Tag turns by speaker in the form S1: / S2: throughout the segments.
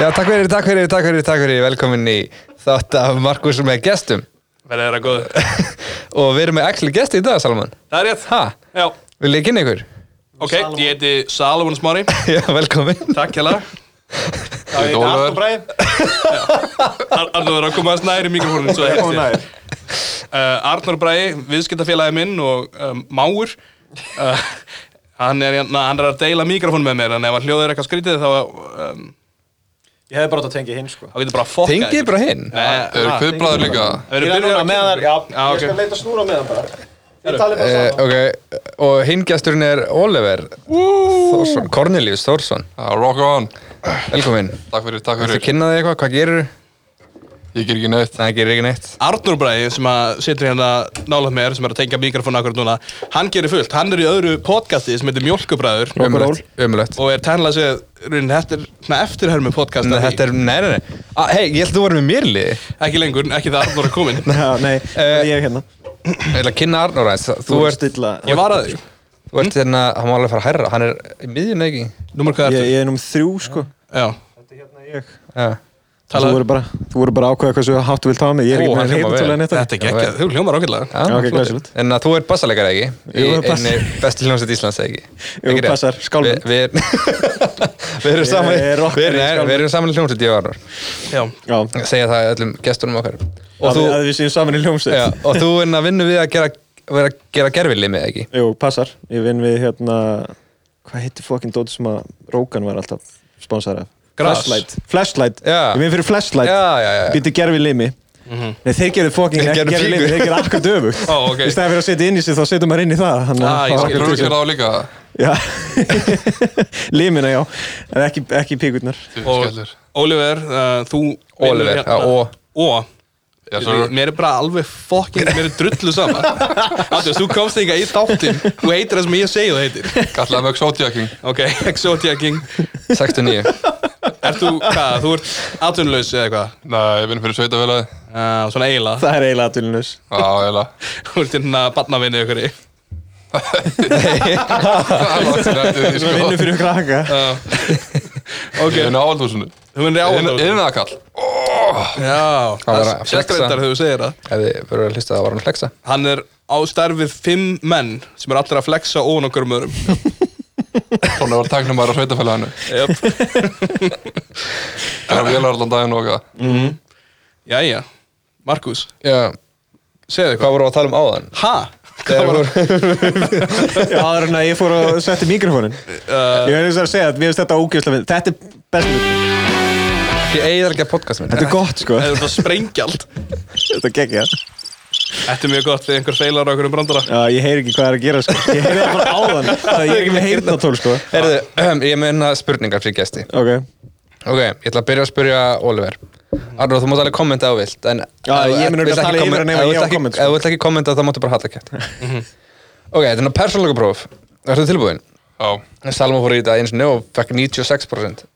S1: Já, takk fyrir, takk fyrir, takk fyrir, takk fyrir, velkomin í þátt af Markus með gestum
S2: Verðið þeirra góður.
S1: og við erum með actually gesti í dag, Salman.
S2: Það er rétt.
S1: Ha,
S2: Já.
S1: vil ég kynna ykkur?
S2: Ok, ég heiti Salomon Smári.
S1: Já, velkomin.
S2: Takk hjá það.
S3: Það er
S2: Ólafur.
S3: Artur Bræði
S2: Arnur er að koma aðeins næri mikrofónum svo
S3: Ó,
S2: hefst
S3: nei.
S2: ég. Uh, Arnur Bræði, viðskiptafélagi minn og um, máur. Uh, hann, er, na, hann er að deila mikrofónum með mér, en ef að hljóðið er eitthvað skrítið þá, um,
S3: Ég hefði bara átt að tengja hinn sko
S2: þá getur bara að fokka.
S1: Tengið bara hinn.
S2: Nei,
S4: Þau
S3: Ah,
S4: eru kviðbræður líka
S2: það
S3: Ég
S2: verður
S3: er
S2: byrjun
S3: núna
S2: að
S3: með þar, já,
S2: Já,
S3: ég skal
S2: ok.
S3: leita snúra með þar bara Þið talið bara
S1: Eh,
S3: saman
S1: ok, og hinn gesturinn er Oliver Þórsson, Cornelius Þórsson.
S4: Já, Ah, Rock on
S1: Velkomin.
S4: Takk fyrir, takk
S1: Viltu
S4: fyrir
S1: kynna þig eitthvað? Hvað gerir þú?
S4: Ég ger ekki neitt
S1: Nei, það gerir ekki neitt.
S2: Arnur Bræði sem að situr hérna nálega mér sem er að tengja mikrofónu akkur núna hann gerir fullt, hann er í öðru podcasti sem heitir Mjölkubræður
S1: Ömulegt, ömulegt.
S2: og er tænlega séð raunin, þetta er svona eftirhermi podcast
S1: Nei, þetta er, nei, nei, nei. Ah, hei, ég held að þú varum með mér í liði.
S2: ekki lengur, ekki það Arnur er komin
S3: Já, nei,
S1: Eh,
S3: ég er hérna
S1: Ég ætla að kynna Arnór aðeins. Þú
S3: Þú ert
S1: ert,
S3: stilla
S2: ég var að því,
S1: þú ert hérna, hann má alveg fara að herra. Hann er í miðjun, eða ekki?
S2: nummer hvað
S3: Ég
S2: ertu?
S3: ég er nummer þrjú sko
S2: Já,
S3: hérna
S1: Já.
S3: Þú
S2: talaðu
S3: voru bara, þú voru bara að ákveða hversu hátt þú vilt hafa mig Ég er
S1: Ó,
S3: ekki
S1: hann hljómar
S3: með hérna.
S1: vel.
S3: reyndtölu en þetta
S2: þetta er ekki ekki, þú hljómar ákveðlega
S1: Já,
S3: Já, ok,
S1: flott.
S3: glæsilegt.
S1: En að þú ert bassalegar ekki?
S3: Jú,
S1: Í
S3: ég er bass-
S1: einni bestu hljómsveit Íslands ekki?
S3: Jú,
S1: Ekki rétt?
S3: passar, skálmöld.
S1: Við vi, vi erum
S3: Ég
S1: saman
S3: er rockari
S1: við erum-
S3: í
S1: nei,
S3: skálmöld.
S1: Við erum saman í hljómsveit í ára
S2: Já,
S3: Já,
S1: Segja það öllum gestunum okkar Og
S3: að
S1: þú,
S3: að við séum saman í
S1: já,
S3: hljómsveit
S1: og þú vinna vinnu við að gera, vera, gera gerfilimi ekki?
S3: Jú, passar Ég vinn við hérna Hvað heitir fokkin dóti sem að Rókan var alltaf sponsor af
S2: Gras.
S3: Flashlight Flashlight
S1: Já.
S3: Ég vinn fyrir Flashlight
S1: Já, já,
S2: Eh.
S1: já.
S3: Býttu gerfi limi
S2: Mhm.
S3: Nei, þeir gerðu fokkin
S1: Þeir
S3: ekki
S1: gerðu
S3: gerfi
S1: píku.
S3: limi Þeir gerðu akkur döfugt
S2: Ó, Oh, ok.
S3: Í stæðan fyrir að setja inn í sig þá setjum maður inn í það Þannig
S2: Ah,
S3: að
S2: ég skil.
S3: það var
S4: Pröfum
S3: akkur
S4: sér
S3: döfugt
S4: á líka
S3: Já Limina, já En ekki, ekki píkurnar
S2: og
S4: Skellur
S2: Oliver, uh, þú
S1: Oliver,
S2: vinnur
S1: já, og-
S2: og
S4: Já, svo
S2: Mér er bara alveg fokkin, mér er drullu saman Andrés, þú komst þingar í þáttinn Þú heitir það sem ég segi þú heitir
S4: kallaði mig Exotiaking
S2: Ok, Exotia King
S1: 69
S2: Ert þú, hvað, þú ert atvinnlaus eða eitthvað?
S4: Nei, ég vinn fyrir sveitafélagi
S2: Uh, svona eiginlega,
S3: Það er eiginlega atvinnus
S4: Já, eiginlega
S2: þú ert hérna barnavinni ykkur í
S4: Það er langt sér eftir því,
S3: Við
S4: sko
S3: vinnum fyrir krakka
S2: Eh. Ok,
S4: Ég vinn á aldhúsinu
S2: þú munir áhuga
S4: Innan að kall
S2: Já,
S1: var
S2: það
S1: að
S2: sést
S1: flexa.
S2: reyndar þegar þú segir það
S1: Ef þið verður að hlusta það var hann að flexa
S2: Hann er á starfið fimm menn sem er allir að flexa ofan okkur um öðrum
S4: Svona var tæknum maður á sveitafélaginu
S2: Jöp.
S4: Það er vélar allan daginn og eitthvað
S2: Jæja, Markus,
S1: Já,
S2: segðu eitthvað
S1: hvað voru að tala um áðan?
S2: Ha?
S1: Þegar voru-
S3: áður en að ég fór að setja mikrofónin
S2: Eh.
S3: ég verður þess að segja að mér finnst þetta ógeðslega finn þetta er best
S1: Ég eigið alveg að podcast minn
S3: þetta er gott sko
S2: Það er það sprengjald
S3: þetta geggja
S2: Þetta er mjög gott þegar einhver feilar okkur um brandara
S3: já ég heyri ekki hvað það er að gera sko ég heyri það bara áðan það ég er ekki með heyrnatól sko
S1: Herðu, ég meina spurningar fyrir gesti
S3: ok
S1: Ok, ég ætla að byrja að spyrja Oliver Arnur, þú mátt alveg kommenta á vilt En
S3: Já,
S1: ef-
S3: ég
S1: ef-
S3: mun örugglega
S1: vilt
S3: tala
S1: ekki
S3: yfir
S1: kommen-
S3: hann
S1: ef
S3: ef
S1: þú vilt
S3: ég á
S1: ekki-
S3: komment,
S1: Ef
S3: sko.
S1: þú vilt ekki kommenta þá máttu bara halla kætt
S4: Mhm.
S1: Ok, þetta er ná persónlega próf Ertu tilbúin?
S4: Já,
S1: Salma fór í þetta eins og nefn og fekk 96%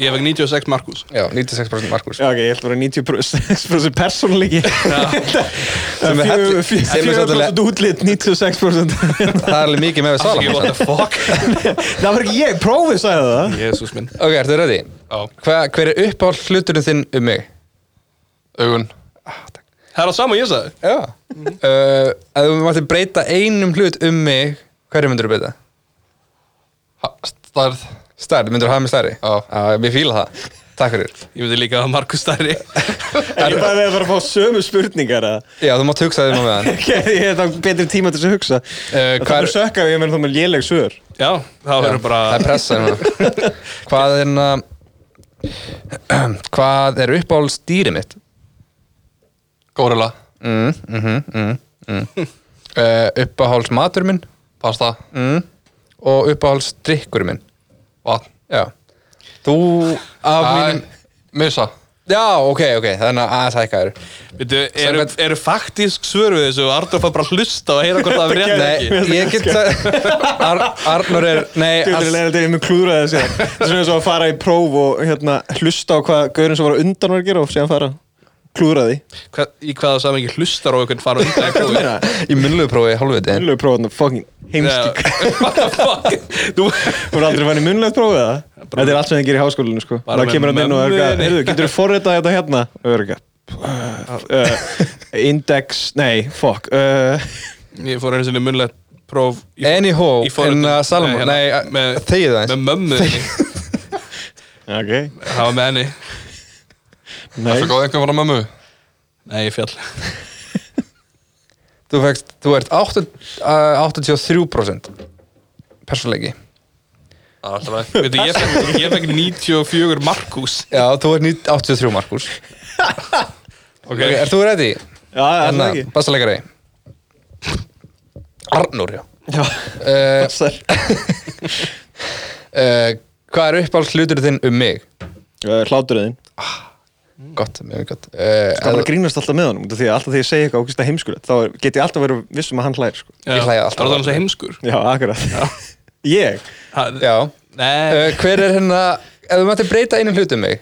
S2: Ég fekk 96 Markus
S1: Já, 96% Markus
S3: já ok ég ætla bara 90% persónleiki
S1: Sem er helli- sem er
S3: 4%
S1: svolítið-
S3: útlit 96%
S1: Það er alveg mikið með við
S2: Ég,
S1: Salma
S2: what the fuck
S3: það var ekki ég prófið sagði það
S2: Jésús minn
S1: Ok, ertu ready?
S4: já,
S1: Hva, hver er uppáhald hluturinn þinn um mig?
S4: augun
S2: Það er á sama og ég sagði
S1: Já uh, Ef þú máttir breyta einum hlut um mig Hverju myndur þú breyta?
S4: Ha- Stærð
S1: Stærð, myndur þú hafa mig stærri?
S4: Já.
S1: Já, ég fíla það Takk fyrir
S2: Ég myndi líka að Markus stærri
S3: en ég bara við að fara að fá sömu spurningar að
S1: Já, þú mátt hugsa þig um að meðan
S3: Ok, ég hef þá betri tíma til þess að hugsa
S1: Eh,
S3: það
S1: hvar-
S3: er sökka ef ég menn þá með léleg sögur
S2: Já, þá verður bara
S1: Það er pressa hérna. Hvað er hérna Hvað er uppáhalds dýrið mitt?
S4: Górela
S1: Mm, mm, mm, mm. Uh, uppáhalds matur minn
S4: Pasta
S1: mm. og uppáhalds drikkur minn
S4: Vatn
S1: Já Þú af mínum
S4: Æ, Missa
S1: Já, ok, ok, þannig að aðeins hækka þér
S2: Veitu, eru,
S1: Samkvæmt-
S2: eru faktísk svör við þessu og Arnór fær bara að hlusta og heyra hvort það er rétt eða ekki?
S1: Nei, ég get Ar, Arnur er, nei
S3: Þú
S1: alls-
S3: vil leira til ég með klúra þessi Það er svona eins og að fara í próf og hérna, hlusta á hvað gaurinn sem var á undan var að gera og síðan fara klúraði
S2: Hva, í hvaða samingi hlustar á einhvern fara undan
S3: Hvað meina?
S1: Í munnlöfuprófi, hálfviti
S3: Munnlegu prófaðna, fucking heimskik
S2: What the fuck Þú
S3: Þú er aldrei fannig munnlegt prófið það? Þetta er allt sem þið gerir í háskólinu sko
S2: Bara
S3: Það kemur hann
S2: með
S3: inn og örga
S2: mömmunni.
S3: Heyrðu, getur þú forritað þetta hérna? Örga uh, Index, nei, fuck uh,
S2: Ég fór einu sinni munnlegt próf í-
S1: Anyhó,
S2: í forritun.
S1: en að Salomon,
S2: hérna,
S1: nei, að-
S2: með,
S1: þegið aðeins.
S2: með mömmu þinni.
S3: Ok,
S2: Það var með henni
S3: nei
S4: Svo góð einhver var að mömmu
S2: Nei, ég fjall
S1: Þú, fekst, þú ert 8, uh, 83% persónleiki
S4: Það er alltaf leið.
S2: Veitu, ég fekk, ég fekk 94 Markus
S1: Já, þú ert níu- 83 Markus
S2: Ok,
S1: okay, Er þú ready? Hérna,
S3: Já, alltaf ekki
S1: Bassaleikari Arnur, já
S3: Já,
S1: uh,
S3: passar
S1: uh, Hvað er uppáhalds hlutur þinn um mig?
S3: Uh, Hláturðin
S1: Gott, mjög gott uh,
S3: Það bara grínast alltaf með honum út af Því að alltaf því að ég segi eitthvað ógæsta heimskulegt Þá er- get ég alltaf verið vissum að hann hlægir sko
S1: ég hlæja alltaf.
S2: Það var þannig að heimskur
S3: Já, akkurat Ég?
S2: Ha-
S1: Já
S2: Nei,
S1: uh, Hver er hérna Ef þú mætti breyta einum hlut um mig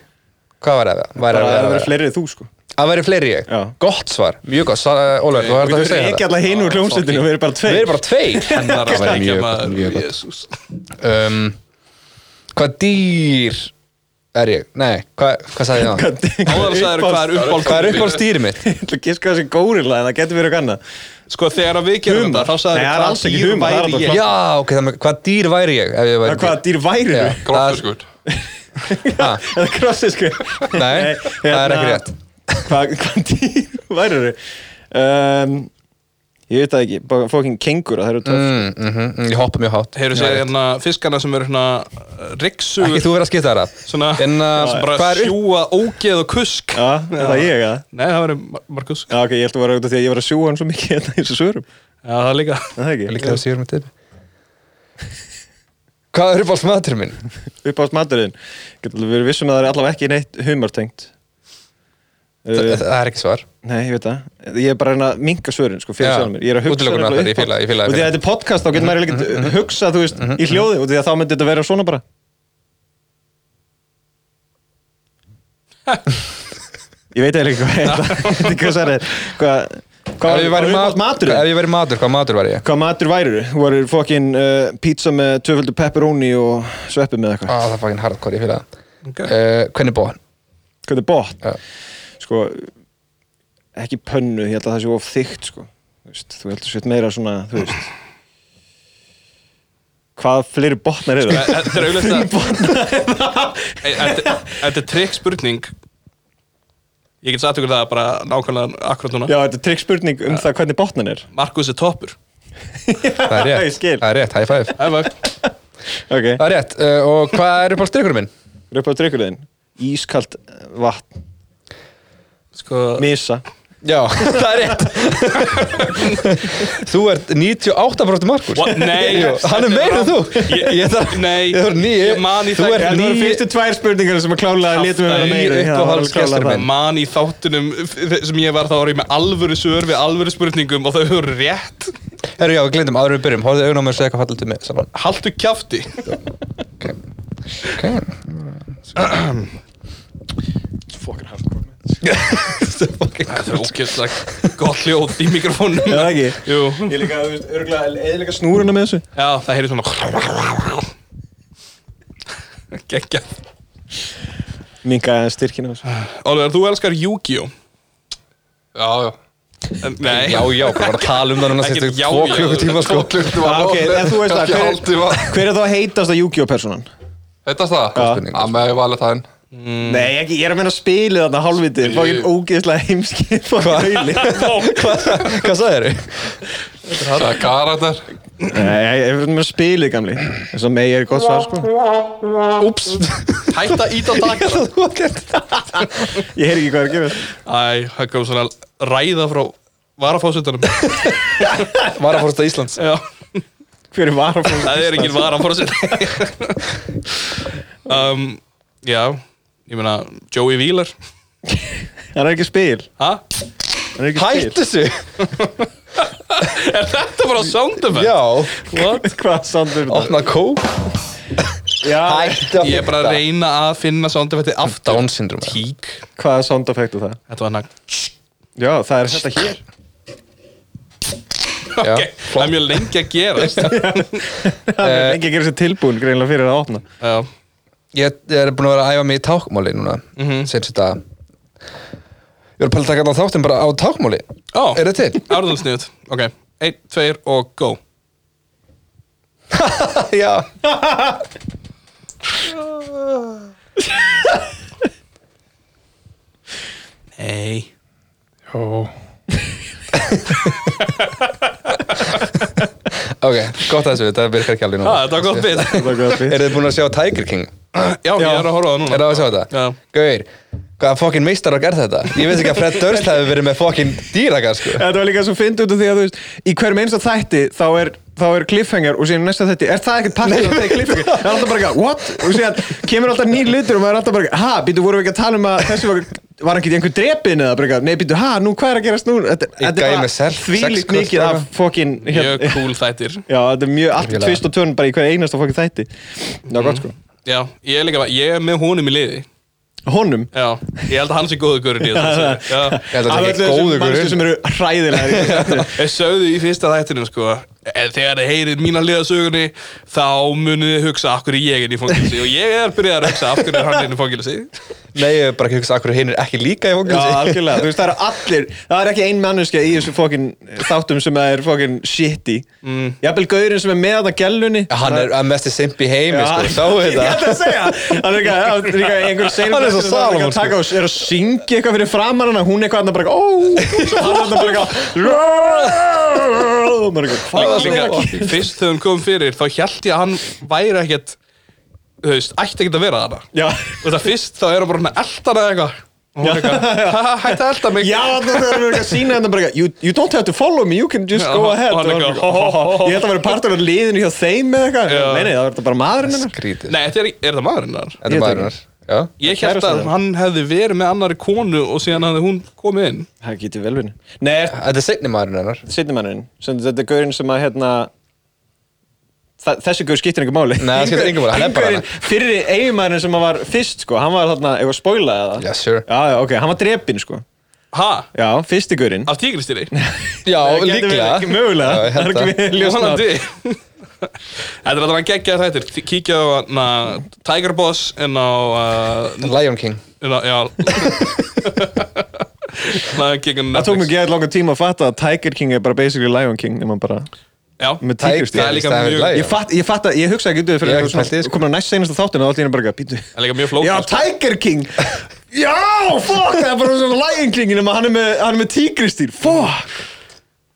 S1: Hvað var það? Var
S3: Bara að vera fleiri en þú sko
S1: Að vera fleiri ég
S3: Já.
S1: Gott svar, mjög gott Sa- Ólafur, þú
S3: Þú
S1: verður að
S3: veist
S1: segja
S3: ekki
S1: þetta
S3: alltaf hinn úr hljómsveitinu og verið bara
S1: Við erum
S3: tveir
S1: bara tveir
S2: hennar að
S1: Það er
S2: sleikja
S1: mjög gott, mjög
S2: maður
S1: gott.
S2: Jésús
S1: um, Hvað dýr er ég? Nei, hvað, hvað sagði ég það?
S2: Áðan sagðir hvað er uppáhalds
S1: Hvað er uppáhalds dýrið mitt?
S3: Þú kiska þessi górilla en það getur verið eitthvað annað
S2: Sko þegar að við gerum
S3: Humar.
S2: þetta þá sagði
S3: Nei, það er alls ekki humar, það er alltaf
S2: ég
S1: Já, ok, þannig hvað dýr væri ég ef ég væri
S3: Það er hvaða dýr væri
S1: Já.
S3: þú?
S4: Gróttuskur
S1: Ha,
S3: Það er krossisku hérna,
S1: Nei, það er ekki rétt.
S3: Hvaða hvað dýr væri þú? Um, ég veit það ekki, bara fókin kengura, það eru töff
S1: mm, mm Ég hoppa mjög hátt
S2: Hefur
S1: Já,
S2: séð
S1: rétt.
S2: hérna fiskana sem eru hérna rikssugur
S1: Ekki þú verið að skipta þar að
S2: Svona
S1: En uh,
S2: sem
S1: hvað
S2: bara
S1: er upp?
S2: sjúa ógeð og kusk
S3: Já, er það ég eða?
S2: Nei, það var Markus Já,
S3: Já, ok, ég held að vera út af því að ég var að sjúa hann svo mikið hérna í þessu svörum
S2: það líka
S3: Er Það er
S1: Líklega
S3: ekki,
S1: að síður með tipi Hvað er uppáhalds matur minn?
S3: upp ást maturinn Getur alveg verið vissum að það er allavega ekki neitt humartengt
S1: Þa,
S3: uh,
S1: það er ekki svar
S3: Nei, ég veit það Ég er bara að reyna að minka svörin, sko, fyrir
S1: Já,
S3: sjálfum mér Ég er að hugsa
S1: útilokun
S3: nefnilega
S1: allar, ég
S3: upp á-
S1: fíla- ég fíla-
S3: Og því að
S1: fíla.
S3: þetta er podcast, þá getur maður
S1: Mhm,
S3: ekki hugsa, þú veist, í hljóði Og því að þá myndi þetta vera svona bara Ég veit eiginlega ekki hvað er það Þetta er hvað það er Hvað,
S1: Ef
S3: hvað
S1: ég
S3: var
S1: væri
S3: uppátt matur?
S1: Ef ég væri matur, hvað matur væri ég?
S3: Hvað matur væri þú? Þú varir fokkin uh, pizza með tvöföldu pepperoni og sveppi með
S1: Á,
S3: eitthvað
S1: Ah, það er fækinn hardcore, ég fíla það
S2: okay.
S1: uh, Hvernig bóðan?
S3: Hvað er bótt?
S1: Já.
S3: Sko, ekki pönnu, ég held að það sé of þygt, sko. Þú veist, þú heldur sveit meira svona, þú veist. Hvað fleiri botnar eru það?
S2: Þetta er auðvitað Þetta er trikk spurning Ég get sagt ykkur það bara nákvæmlega akkurat núna
S3: Já, þetta er trikk spurning um það hvernig botnan er.
S2: Markus er toppur
S1: Það er
S3: Ég
S1: rétt,
S3: skil.
S1: það er rétt, high five
S2: Það er vægt
S3: Ok,
S1: Það er rétt, uh, og hvað er uppáhalds drikkurinn minn?
S3: eru upp á drikkulegin. Ískalt eh, vatn,
S2: Sko
S3: misa.
S1: Já, það er rétt Þú ert 98% Markus
S2: What? Nei,
S1: Jú, Hann er meira en þú
S2: Ég, ég þarf Nei,
S1: ég þarf níu.
S2: ég man í
S1: Þú
S2: það
S1: ert
S3: Það
S1: Ný-
S3: eru fyrstu tvær spurningar sem að klálega létum við vera
S2: Ný
S3: meira. Já, það var alveg klárlega
S1: uppáhaldsgestur
S3: það.
S1: minn.
S2: man í þáttunum sem ég var þá var ég með alvöru svör við alvöru spurningum og þau eru rétt
S1: Herru, já, við glindum, áður en við byrjum Hóðið augun á mér og segja hvað fallið til mig saman
S2: Haltu kjafti
S1: Ok, okay.
S2: Það er ókesslega gott hljóð í mikrofónum
S3: Já, það ekki.
S2: Jú,
S3: Ég líka, þú veist, örgulega eðilega snúruna með þessu.
S2: já, það heyri svona Gekja
S3: Minga styrkina þessu.
S2: Oliver, þú elskar Yu-Gi-Oh!
S4: Já, já
S2: En- Nei,
S1: Já, já, bara að tala um það núna
S2: Ekkert
S1: Sýttu
S2: já,
S1: tvo
S2: já,
S1: klukkutíma sko
S4: Klukkutíma
S3: Ah, ok, en þú veist það,
S4: Ekki
S3: hver-
S4: hálftíma
S3: Hver er þá heitast að Yu-Gi-Oh! personan?
S4: Heitast það?
S3: Já.
S4: Að með valið það inn
S3: Mm. Nei, ekki, ég er að meina spilið þarna hálfviti Fokkin ógeðslega heimskið Fokkin auðli
S1: Hvað sagði þér?
S4: Það er karakter
S3: Nei, ég er að meina spilið gamli Þess að megi er gott svar sko
S1: Úps
S2: hætta ít að taka það
S1: Þú var gert það
S3: Ég heyr ekki hvað er að gera
S2: Æ, það kom svona ræða frá varafósitanum
S1: Varafórsta Íslands
S2: Já,
S3: Hver er varafóð
S2: það er engin varafósit um, Já, ég meina Joey Wheeler
S3: Hann er ekki spil
S2: Ha?
S3: Hann er ekki
S1: Hættu sig
S2: Er þetta bara sound effect?
S1: Já
S2: What?
S3: spil Hvað sandur þetta?
S1: Opna kó Oh, Hættu
S2: Ég er bara að reyna að finna soundeffekti aftur
S1: Down syndrome
S2: Tík
S3: Hvaða sound effect er það?
S2: Þetta var nag
S3: Já, það er þetta hér
S1: Já.
S2: Ok, það er mjög lengi að gerast
S3: Það er ekki að gera sér tilbúin greinlega fyrir að opna
S2: Já,
S1: ég, ég er búin að vera að æfa mig í tákmáli núna mm
S2: Mhm.
S1: -hmm. senst þetta ég er bara að taka þetta þáttum bara á tákmáli
S2: Ó.
S1: er þetta til?
S2: árðalsniðut Ok, einn, tveir og go
S1: já
S2: Nei
S4: Jó.
S1: ok, gott að þessu, þetta virkar ekki alveg núna
S2: ah, Þetta var gott bit
S3: Það er góða
S1: er þið búin að sjá Tiger King?
S2: Já, ég er að horfa á það núna
S1: er það að sjá þetta?
S2: Mm. Já.
S1: gauðir, hvaða fokkin meistar að gera þetta? ég veist ekki að Fred Durst hefði verið með fokkin dýraga sko
S3: Þetta var líka svo fyndið út af því að þú veist Í hverjum einsta þætti þá er, þá er cliffhanger Og síðan í næsta þætti, er það ekkert partur af þeir cliffhanger Það er alltaf bara eitthvað, what? Og síðan kemur alltaf nýr litur og maður er alltaf bara eitthvað, Ha, býtu, vorum við ekki að tala um að þessi var Var ekki einhver drepin eða bara eitthvað Nei, býtu, ha, nú hvað er að gerast nú? Þetta,
S1: gæi
S3: þetta er
S1: með self-
S3: þvílíkt
S1: sex
S3: mikið
S1: kost,
S3: af fokkin
S2: Mjög
S3: hérna-
S2: cool þættir
S3: Já, þetta er mjög allt
S1: Virkilega.
S3: tvist og törn bara í hverju einasta fokkin þætti Já, gott sko
S2: Já, ég er líka bara, ég er með honum í liði
S3: Honum
S2: Já, ég held að hann sé góðu gurinn í þessu Já.
S1: Ég held að
S3: Af
S1: það sé
S3: öllu
S1: ekki
S3: þessum
S1: góður
S3: mannstu
S1: gaurinn.
S3: sem eru hræðilegar í þessu þætti.
S2: Þeir sögðu í fyrsta þættinu sko en þegar þið heyrið mína liðasögunni þá munið þið hugsa af hverju ég er í fangilsi og ég er byrjað að hugsa af hverju er hann er í fangilsi
S1: nei, ég hef bara ekki hugsað akkur hinn er ekki líka í
S3: Já,
S1: fókins
S3: algjörlega, þú veist, það eru allir Það er ekki ein manneskja í þessu fokkin eh, þáttum sem það er fokkin shitty mm. Jafnvel gaurinn sem er með þetta gælunni
S1: hann er að mesti simp í heimi sko, sá
S3: Ég
S1: þetta
S3: ætla að segja Hann er ekki að, líka einhver seinum
S1: Hann er svo Salomon,
S3: að taka og er að syngja eitthvað fyrir framan hana Hún eitthvað annar bara Ó, hann er bara eitthvað Og maður er eitthvað, Hvað er
S2: Líka,
S3: það?
S2: fyrst þegar hann kom fyrir þá held ég að hann væri ekkert þú veist, ætti ekkert að vera þarna
S3: Já,
S2: og það fyrst þá er hann bara með eldana eitthvað og hún
S3: Já.
S2: er eitthvað, "Ha, ha, hætti að elda mig
S3: já þannig að það er eitthvað að sína hann bara eitthvað, you, you don't have to follow me, you can just
S2: Já,
S3: go ahead
S2: hann er
S3: Og hann er
S2: eitthvað,
S3: eitthvað, "Ho, ho, ho, ho." oh." Ég held að vera partur af liðinu hjá þeim eða eitthvað
S2: Já.
S3: Nei, nei, það verður bara maðurinn hennar
S1: skrítið,
S2: Nei, þetta er, er það maðurinn þar
S1: þetta er
S3: Ég veit
S1: maðurinn hans. já
S2: Ég held að
S3: Kærastan.
S2: hann hefði verið með annari konu og síðan hefði hún komið inn
S3: Það getur vel verið. Nei, er
S1: þetta er seinni maðurinn hennar
S3: seinni mannurinn, sem þetta er gaurinn sem að hérna þa- þessi gaur skiptir einhver máli.
S1: Nei, það skiptir engu máli, hann er bara
S3: Hinn gaurinn- Fyrri eigumæðurinn sem að var fyrst, sko, hann var þarna, eitthvað spoilað eða?
S1: Yeah, sure.
S3: Já, já, ok, hann var drepinn, sko.
S2: Ha?
S3: Já, fyrsti gaurinn.
S2: Af tígristýri?
S1: já,
S3: Það gæti verið
S1: líklega
S3: Ekki mögulega.
S1: Já, ég held
S3: það er
S1: að.
S3: ekki við ljósnáð.
S2: Vonandi Þetta er alltaf að gegja þættir Þi- Kíkja á na, Tiger Boss En á, uh,
S1: Lion King
S2: en á Já Lion King and
S3: Það tók
S2: Netflix
S3: mig ekki eitthvað langan tíma að fatta að Tiger King er bara basically Lion King nema bara
S2: Já,
S3: með
S1: Tiger
S3: tígrisdýr.
S2: það er líka
S1: Það er
S2: mjög
S1: lagi.
S3: Ég fatt, ég fatt að, ég hugsaði ekki duð
S1: Ég
S3: fyrir
S1: hef ekki pælt í
S3: svona,
S1: því, sko.
S3: komin á næst senasta þáttin og allir er bara ekki að býtu.
S2: Það er líka mjög flókið,
S3: Já,
S2: sko.
S3: Tiger King! Já, fuck, það er bara svona Lion King, nema hann er með, hann er með tígristýr, fuck!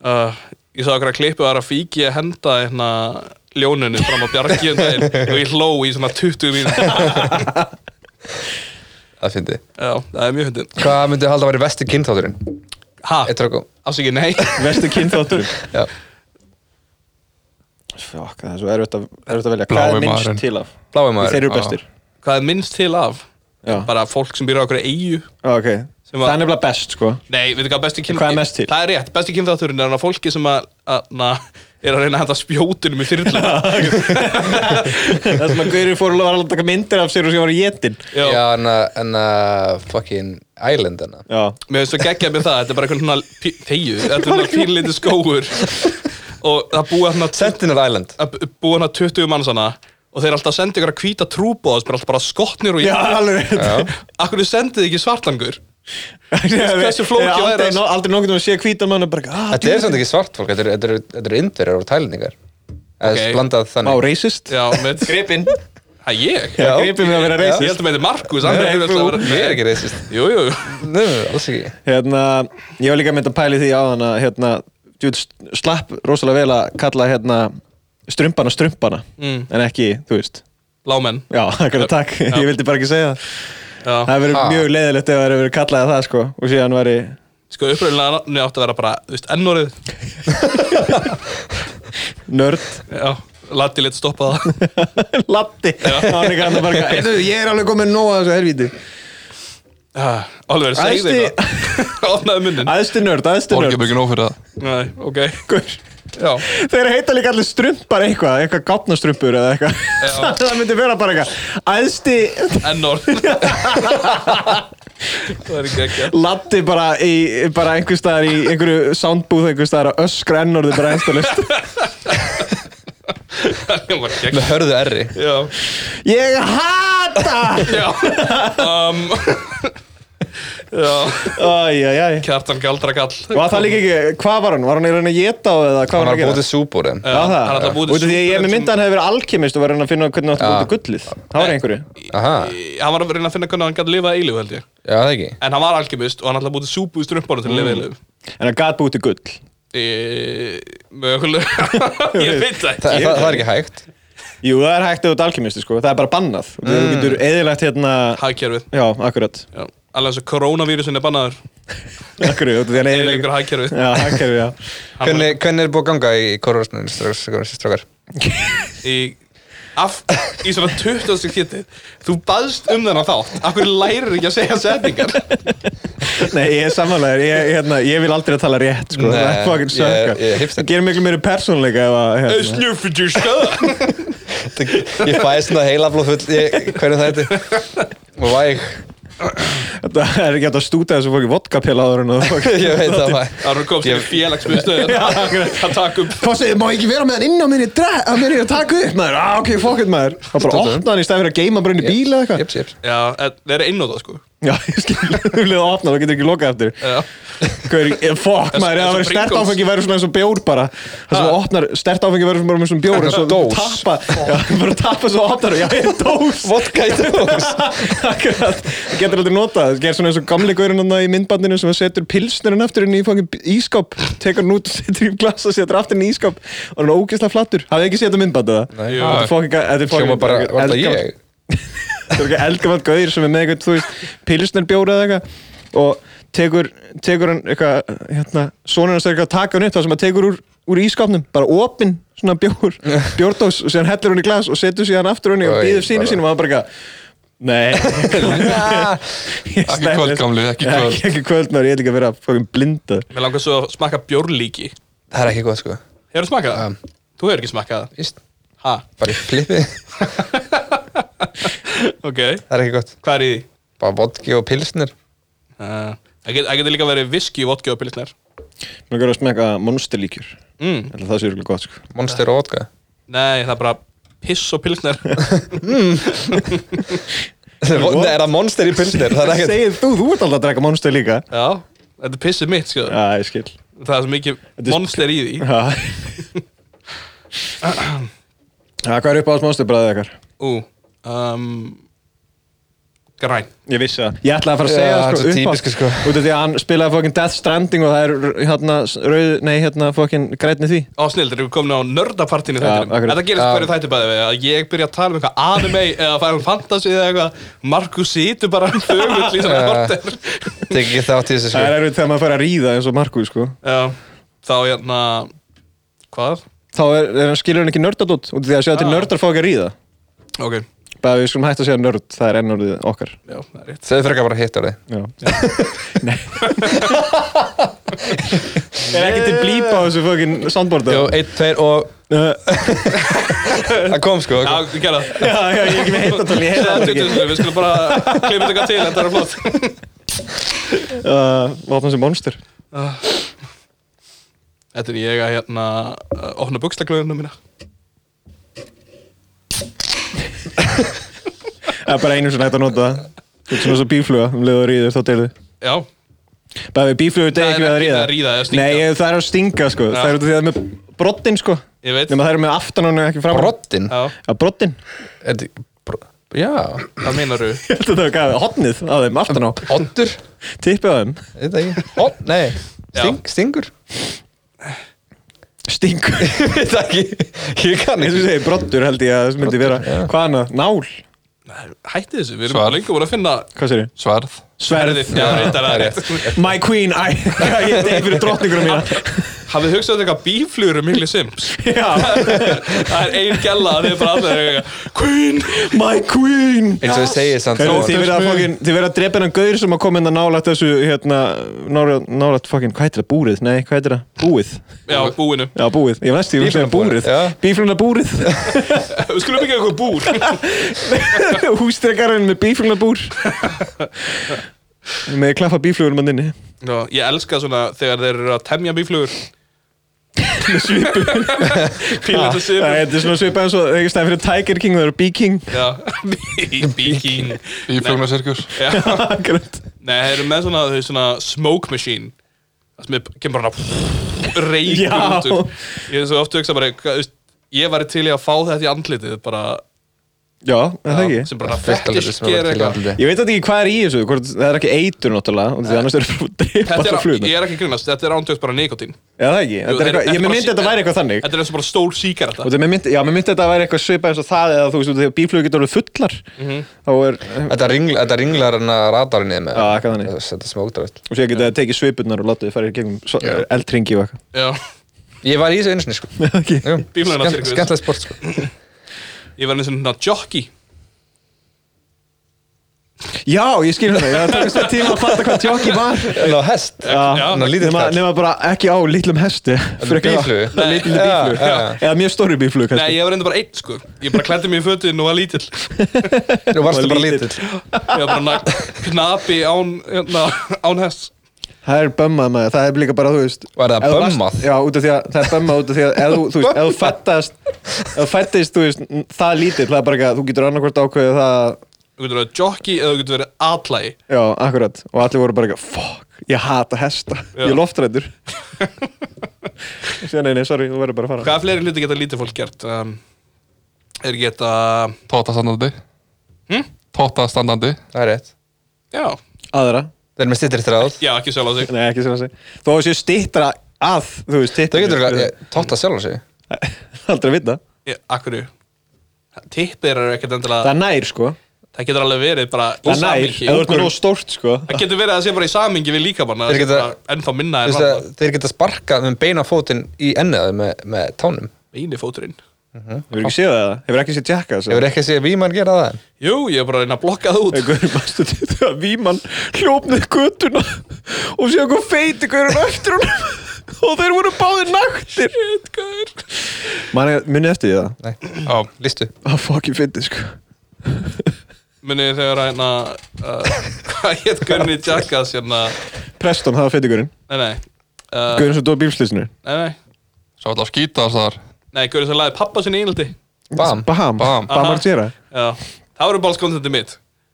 S2: uh, Ég sá okkur að klippu þar að fíki að henda hérna, ljóninu fram á bjargi um daginn og ég hló í svona 20 mínútur
S1: Það fyndi
S2: Já, það er mjög hundin
S1: Hvað myndið halda að vera vesti kynþátturinn?
S2: Ha,
S1: Eitt ráku
S2: afsikið nei
S3: Vestu kynþáttur.
S1: Já
S3: Fuck, það er svo erfitt að, erfitt að velja.
S4: Blái
S3: Hvað er minnst
S4: maðurinn.
S3: til af?
S1: Blái maðurinn,
S3: Þeir eru
S1: já.
S3: bestir.
S2: Hvað er minnst til af?
S3: Já.
S2: Bara fólk sem býr á okkur eigu
S3: Ah, ok,
S2: Sem að-
S3: það er nefnilega best, sko.
S2: Nei, veitu hvað besti kynþátturinn
S3: Hvað er mest til?
S2: Það er rétt, besti kynþátturinn er hann að fólki sem að, að na, er að reyna að henda spjótunum í þyrlu
S3: það sem að Guðri fór var alveg að taka myndir af sér og sem var í jetin.
S2: Já,
S1: Já, en að, en að fucking Island hana
S3: Já.
S2: mér finnst svo geggjað með það Þetta er bara einhvern svona pí- þegju Þetta er svona pínlítið skóur Og það búa hann að
S1: Sentinel Island
S2: búa hann 20 manns hana og þeir alltaf sendi ykkur að hvíta trúbóða sem er alltaf bara skotnir og
S3: Já, alveg.
S2: Akkur þið sendið ekki svartlangur Hversu
S3: Hversu
S2: flókið væri
S3: aldrei,
S2: það?
S3: no- aldrei nokkuð að sé hvítan mann og bara ah,
S1: Þetta er samt ekki svart fólk, þetta eru- þetta eru þetta eru indverjar og tælendingar Það
S2: Ok.
S1: er blandað
S3: Má,
S1: þannig
S3: racist
S2: Já, með
S3: Gripinn
S2: Það ég?
S3: Já, gripinn við að vera
S1: Já.
S2: Ég
S3: racist
S2: held að með þetta Markus hann
S1: Nei,
S2: er
S1: þú-
S2: að vera-
S1: ég er ekki racist.
S2: Jú, jú
S1: Nei, nei, alls ekki
S3: Hérna, ég var líka mynd að pæli því á hana Hérna, þú slapp rosalega vel að kalla hérna strumpana strumpana
S2: Mm.
S3: En ekki, þú veist
S2: Lámenn
S3: Já, akkurat takk, ég vildi bara ekki segja það
S2: Já.
S3: Það hefur verið
S1: Ha.
S3: mjög leiðilegt ef það hefur verið kallað það sko Og síðan væri
S2: Sko, uppröðinlega nafni átti að vera bara, þú veist, ennórið
S3: nörd
S2: Já, Latti létt stoppa það
S3: Latti Það var ekki hann að bara eitthvað, "Heyrðu, Ég er alveg komin nóg að þessu helvíti
S2: Ah, Oliver, segðu
S3: Æðsti-
S2: eitthvað Opnaðu munnin
S3: Æðsti nörd, æðsti
S4: Borgir
S3: nörd
S4: mig ekki nóg fyrir það
S2: Nei, ok
S3: Guð.
S2: Já,
S3: Þeir heita líka allir strumpar eitthvað, eitthvað gáfnastrumpur eða eitthvað Það myndi vera bara eitthvað Æðsti
S2: enn orð Það er ekki ekki
S3: Latti bara í bara einhvers staðar í einhverju soundbúð einhvers staðar að öskra ennorði bara enstalist
S2: Það var ekki
S1: Með hörðu erri
S2: Já,
S3: Ég hata
S2: já um, Já,
S3: Æjæjæj
S2: kjartan galdra kall
S3: Var það líka ekki, hvað var hann? Var hann í rauninni að geta á eða
S1: Hann
S3: hvað var
S1: var
S3: hann að gera?
S1: bútið súbúr en
S2: Já,
S3: Já, það,
S2: hann ætlaði að búa til
S3: út af því að ég
S2: súpur
S3: með
S2: sem-
S3: mynda hann hefur verið alkemist og var að reyna að finna hvernig hann átti að
S1: Já.
S3: búta gullið Það var einhverju
S1: Aha,
S2: Hann var að reyna að finna hvernig hann gæti lifað eilíf held ég
S1: já það ekki
S2: En hann var alkemist og hann ætlaði að búti súpu í strömpunum til að lifa
S3: Mm.
S2: eilíf
S3: En hann gat búti gull
S2: e, Mögulega Ég veit það
S1: Þa,
S2: ekki
S1: það, það er ekki hægt
S3: Jú, það er hægt eða út alkemisti sko, það er bara bannað mm. Þú getur eðilegt hérna
S2: Hagkerfið
S3: Já, akkurat,
S2: Já, alveg eins og koronavírusin er bannaður
S3: akkurat, út af því hann
S2: Eða
S3: eðilegt
S2: ykkur hagkerfið
S3: Já, akkurat, já
S1: Hvernig, hvernig er búið að ganga í korrosnum strókar?
S2: í, af, í svona 20 sekundið þú baðst um þennan þátt af hverju lærir ekki að segja setningar
S3: Nei, ég er samanlegar, ég, hérna, ég vil aldrei tala rétt sko,
S1: Nei,
S3: það er
S1: ég
S3: fucking
S1: er-
S3: sökka
S1: ég er hipster.
S3: Það gerir miklu meiri persónleika ef að
S2: Það er
S3: hérna.
S2: snjúfið til stöða
S1: Ég fæði svona heilablóð full í hverju þætti Og væg,
S3: Þetta er ekki hægt að stúta þessu fólki vodkapjala áður en að þú fucking-
S1: ég veit það væg
S2: það er komst í félagsmiðstöð það takk upp
S3: Hvað segir, má ég ekki vera með hann inn á minni dræ, að mér er að taka upp maður, ah, ok, fuck it maður þá bara
S1: Stóttu.
S3: opna hann í stæðan fyrir að geima bara inn í bíl eða eitthvað
S1: Jips, jips
S2: já, en það er einnótað sko
S3: já, ég skil, þú vilja það opna, þá getur ekki lokað eftir
S2: Já.
S3: Hver, eh, fuck
S2: Eins- eins
S3: maður, eða
S2: og
S3: verið stert
S2: Pringles.
S3: áfengi verður svona eins og bjór bara það sem
S2: Ha.
S3: þú opnar, stert áfengi verður bara með svona bjór eins og þú
S1: Dós.
S3: tappa, já, bara tappa svo opnar þú, já, ég er dós
S1: Vodka í dós
S3: Akkurat, það getur aldrei notað það gerir svona eins og gamli gaurinn hann í myndbandinu sem að setur pilsnurinn aftur inn í fangin ískáp tekur hann út og setur í glasa setur aftur inn í ískáp og hann er ógeðslega flattur hafið þið ekki séð þetta myndbandið það?
S1: Nei.
S3: Þetta er fucking- þetta er
S1: Hljóma
S3: fucking-
S1: bara, var það
S3: eldgamall-
S1: ég?
S3: þetta er ekki eldgamalt gaur sem er með eitthvað, þú veist, pilsnurbjóra eða eitthvað og tekur, tekur hann eitthvað, hérna, sonur hans er eitthvað að taka hann upp það sem að tekur úr, úr ískapnum bara opinn, svona bjór bjórdós og síðan hellir hann í glas og setur síðan aftur hann og
S1: Oj,
S3: býður sínu
S1: bara.
S3: sínum og það bara eitthvað Nei Ég
S4: Ekki
S3: slepp
S4: kvöld,
S3: þessu.
S4: gamli, ekki
S3: Ekki-
S4: kvöld.
S3: Ekki kvöld, maður, ég er líka að vera fokin blindar
S2: mér langar svo að smakka bjórlíki
S1: Það er ekki gott sko
S2: hefur þú smakkað það? þú hefur ekki smakkað það
S1: Víst,
S2: ha,
S1: bara í flippi Það
S2: ok,
S1: er ekki gott
S2: hvað er í því?
S1: Bara vodki og pilsnir
S2: Uh, það get- það getur líka verið viski, vodka og pilsner
S3: Mér verður að smekka monsterlíkjur
S2: mm.
S3: Ætli Það sé örugglega gott, sko
S1: Monster og vodka
S2: nei, það er bara piss og pilsner
S1: Nei, er það monster í pilsnir? Það er ekkert
S3: Segir þú, þú ert alltaf að drekka monster líka
S2: já, þetta er pissið mitt sko.
S3: Já, ég skil
S2: það er svo mikið
S3: er-
S2: monster í því
S3: Já Já, hvað er upp á alls monsterbræðið ykkar?
S2: Ú, um, græn
S3: Ég vissi það Ég ætlaði að fara að segja
S1: Já,
S3: það
S1: þetta
S3: sko
S1: er
S3: upp á
S1: típisku, sko.
S3: Út af því að hann spilaði fokkin Death Stranding og það er hérna rauð, nei hérna fokkin grænni því
S2: Ó, snill, þeir eru komin á nördapartin í
S3: Já,
S2: þættinum
S3: akkurat.
S2: Þetta gerist hverju þætti bæði við að ég byrja að tala um eitthvað anime eða Final Fantasy eða eitthvað Markus situr bara um þögull í svona
S1: Já.
S2: korter
S1: Tekið ekki þátt í þessu
S3: Það
S1: sko
S3: er erfitt þegar maður fær að ríða eins og Markus sko
S2: Já, þá hérna Hvað?
S3: Þá er, er, skilur hann ekki nördad út Út af því að sjá til
S2: Já.
S3: nördar fá ekki að ríða
S2: Ok,
S3: Bara við skulum hægt að segja nörd, það er ennordið okkar
S2: já, það er rétt
S1: Segðu frekar bara hitt orðið
S3: Já Nei Er ekki til blíp á þessu fokkin soundboarda?
S1: Jú, einn, tveir og
S3: Uh,
S1: Það kom sko
S2: Já,
S1: það kom.
S2: við gera það
S3: já, já, ég er ekki með heitatal, ég
S2: Segðu
S3: heita það
S2: til
S3: ekki
S2: þessu, Við skulum bara klippa þetta til, þetta er flott
S3: uh, Vopna sem monster
S2: Þetta er ég að hérna uh, opna buxlaglöðunum mína
S3: Það er bara einu sem hægt að nota það Þú ert svona svo bífluga um leið og ríður þá deilðu
S2: Já,
S3: Bara við bíflugur
S2: Það
S3: degi
S2: er
S3: ekki við að
S2: ekki
S3: ríða
S2: að ríða eða stinga.
S3: Nei, ég, það er að stinga sko
S2: Já.
S3: Það er út af því að það er með broddinn sko
S2: Ég veit.
S3: Nefna það er með aftan og ekki fram
S1: Broddin
S2: já,
S3: Að broddinn
S1: Er þetta- bro- Já
S2: það meinar
S3: Ég held að það var gæði hotnið á þeim aftan á
S1: Oddur
S3: Tippið á þeim
S1: Þetta ekki Odd, nei Sting, Stingur
S3: Stingu Eins
S1: Þetta ekki Ég kann
S3: og
S1: ekki
S3: segi broddur held ég að það myndi vera
S1: já.
S3: Hvað annað? Nál?
S2: Hætti þessu, við
S4: Svar.
S2: erum lengur búin að finna
S3: Hvað sér ég?
S4: Sverð
S3: Sverð
S2: Já, reyndar, það er rétt
S3: My queen, æ, ég degi fyrir drottninguna mína
S2: hafið hugsað þetta eitthvað bíflugur um miklu sims það er ein gælla að þið bara allir eru eitthvað, Queen
S3: My queen
S1: eins og þið segir samt
S3: Heyrðu, Þið verða að
S2: Þóttir.
S3: fokkin- þið verða að drepa hennan gaur sem að koma inn að nálægt þessu hérna, nálægt, nálægt fokkin, hvað heitir það, búrið? Nei, hvað heitir það? Búið
S2: já, búinu
S3: Já, búið, ég veist, ég vil segja
S1: Bíflunarbúrið,
S3: búrið
S1: já.
S3: Bífluna búrið
S2: við skulum ekki eitthvað búr
S3: Hústrekarinn með bífluna búr Með klappa bíflugur mann inni
S2: Ná, ég elska svona þegar þeir eru að temja bíflugur með
S3: Það
S2: svipu
S3: þetta er svona svipað eins og ekki stæði fyrir Tiger King, það eru B-King
S2: pílita svipu bíkín
S4: Bíflugnasirkus.
S3: Akkurat.
S2: Nei, þeir eru með svona, þau svona smoke machine Það sem er, kemur bara hana
S3: Já.
S2: reykur út úr Ég er svo ofta hugsa bara, hvað, þú veist, ég var til í að fá þetta í andlitið bara,
S3: Já, er það ekki
S2: sem bara
S1: fullt af
S2: fettis
S1: hlutum sem
S2: sker
S1: verður til í
S2: eitthvað
S1: andliti.
S3: Ég veit þetta ekki hvað er í þessu, hvort, það er ekki eitur náttúrulega og því annars er það að drepa
S2: Þetta
S3: alltaf
S2: er,
S3: flugum
S2: ég
S3: Já,
S2: er ekki að grunast, þetta er ándjöfst bara nikotín
S3: það ekki, Þetta er
S2: Jú,
S3: eitthvað-
S2: þetta
S3: ég mér
S2: bara
S3: myndi
S2: sí-
S3: að þetta væri eitthvað þannig
S2: Þetta er eins og bara stól síkarta
S3: Og þetta er mér myndi, já, mér myndi þetta að vera eitthvað svipað eins og það eða þú veist, út af því að bíflugur getur alveg fullar þá er,
S1: Þetta ringlar, þetta ringlar hann að radarinn niður með
S3: Já, eitthvað þannig.
S1: Þetta smókdrað
S3: og sér geta það tekið svipurnar og látið þið farið í gegnum so-
S1: Já.
S3: eldringi og
S2: Já,
S1: Ég var í þessu einu sinni sko
S3: eitthvað okay.
S1: Jú,
S2: Bíflugurnar
S1: skemmt-
S2: sirkus.
S1: Skemmtilegt sport sko
S2: ég var eins og svona jockey
S3: Já, ég skil hana, ég tókst það tíma að fatta hvað tjóki var
S1: En á hest
S3: Já,
S1: Ná, lítill
S3: nema,
S1: kall.
S3: nema bara ekki á lítlum hesti frekar á-
S1: bíflugu.
S3: á lítilli bíflugu
S1: Já, já.
S3: eða mjög stóri
S2: Nei,
S3: bíflugu kannski
S2: ég var reynda bara einn, sko Ég bara klæddi mig í fötin og var lítill
S1: Nú varstu
S3: Og
S1: bara
S3: lítill.
S1: lítill
S2: Ég var bara na- knapi án, hérna, án hess
S3: það er bömmað maður, það er líka bara, þú veist
S1: Var það
S3: ef þú varst-
S1: bömmað?
S3: Já, út af því að það er bömmað út af því að ef þú- þú veist, ef þú fættast ef þú fættist, þú veist, n- það lítill það er bara ekki að þú getur annarkvort ákveðið það
S2: Þú getur verið jockey eða þú getur verið atlægi
S3: Já, akkurat, og allir voru bara eitthvað Fuck, ég hata hesta,
S2: Já.
S3: ég er loftrættur Sér nei, nei, sorry, þú verður bara að fara
S2: Hvaða fleiri hluti geta lítið fólk gert? Um, er geta,
S4: Tóta standandi.
S2: Hm?
S4: Tóta standandi.
S1: Það er rétt
S2: já,
S3: Aðra,
S1: Þeir eru með stittir þráð
S2: já, ekki sjálf á sig
S3: nei, ekki sem að segja Þó að séu stýttra að, þú veist,
S1: Þau
S3: stýttra
S1: getur ekki tótt að sjálf sig
S3: Aldrei að vita
S2: Já, Akkur Tittir eru ekkert endilega
S3: Það er nær, sko
S2: Það getur alveg verið bara í
S3: Það er nær,
S2: samhengi.
S3: ef þú ert með nóg stórt, sko
S2: Það getur verið að það sé bara í samingi við líkamann
S1: Þeir
S2: Það sé
S1: geta-
S2: bara ennþá minna en
S1: Þú veist
S2: ramma
S1: að Þeir geta sparkað með beina fótinn í enniðaði með, með tánum
S2: Einu fóturinn
S3: Hefur ekki séð það, hefur ekki séð Jackass
S1: Hefur ekki að segja vímann gera það
S2: Jú, ég er bara að reyna að blokka það út
S3: Gauður mastu til þegar Vímann hljópnið göttuna og sé eitthvað feiti gauður eftir hún og þeir voru báðir naktir Mani, munið eftir því það?
S1: Nei,
S4: Já.
S1: listu
S3: Það fokkin fyndi, sko
S2: Munið þegar að hérna uh, Hvað hétt Gunni Jackass hérna
S3: Preston, það var feiti gaurinn
S2: Nei, nei uh,
S3: Gauðin sem dói bílslýsinu
S2: Nei, nei
S4: Svo alltaf skýta þess þar.
S2: Nei, Gunni sem laði pappa sinni í einhaldi
S1: Bam
S3: Baham,
S4: Baham.
S3: Baham Arjera
S2: Já Það voru bara skondandi mitt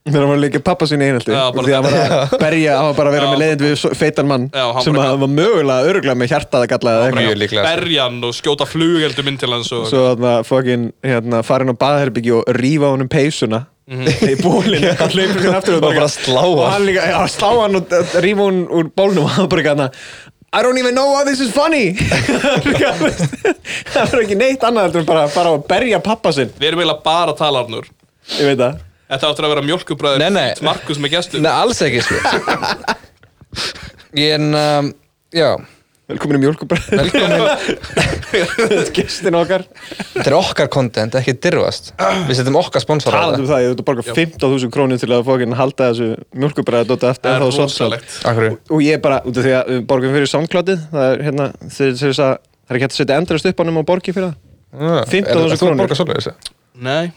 S3: Þegar hann var líka pappa sín í einhaldi
S2: Já, bara
S3: Því að hann var að berja, hann var bara að vera
S2: Já.
S3: með leiðind við svo- feitan mann
S2: Já, hann
S3: Sem
S2: bara-
S3: að hann var mögulega öruglega með hjartað að galla eða
S1: Mjög
S3: eitthvað
S1: líklega sko.
S2: berjan og skjóta flugeldum inn til hans og
S3: Svo þarna fokkin, hérna, farin á baðherbyggi og rífa honum peysuna
S2: Mhm.
S3: Í bólinu, hann hleypur sér aftur og
S1: Og bara slá
S3: Og
S1: hann.
S3: hann líka, já, slá hann og eh, rífa hún úr bólnum og hann bara gana I don't even know how this is funny Það var ekki neitt annað heldur en bara að fara og berja pappa sinn
S2: við erum eiginlega bara að tala Arnur
S3: Ég veit það
S2: Þetta áttur að vera mjölkubræður
S1: Nei, nei.
S2: Markus með gestur
S1: Nei, alls ekki sko Ég en um, Já
S3: Velkomin í mjölkubræður
S1: Velkomin
S3: Gestin okkar
S1: Þetta er okkar content, ekki dirfast Við setjum okkar sponsor á
S3: Talandi um
S1: það
S3: það, ég þurfti að borga 15.000 krónir til að fókin halda þessu mjölkubræða dóta eftir
S2: Það er
S3: en þá svolítið
S2: rosalegt
S1: Akkur
S3: Og ég bara, út af því að við borgum fyrir soundcloudið Það er hérna, þeir þeir þess að Það er ekki hægt að setja endurist upp ánum og borgi fyrir það
S1: Ah,
S3: 15.000 krónur.
S1: Borga svolítið þessu
S2: Nei,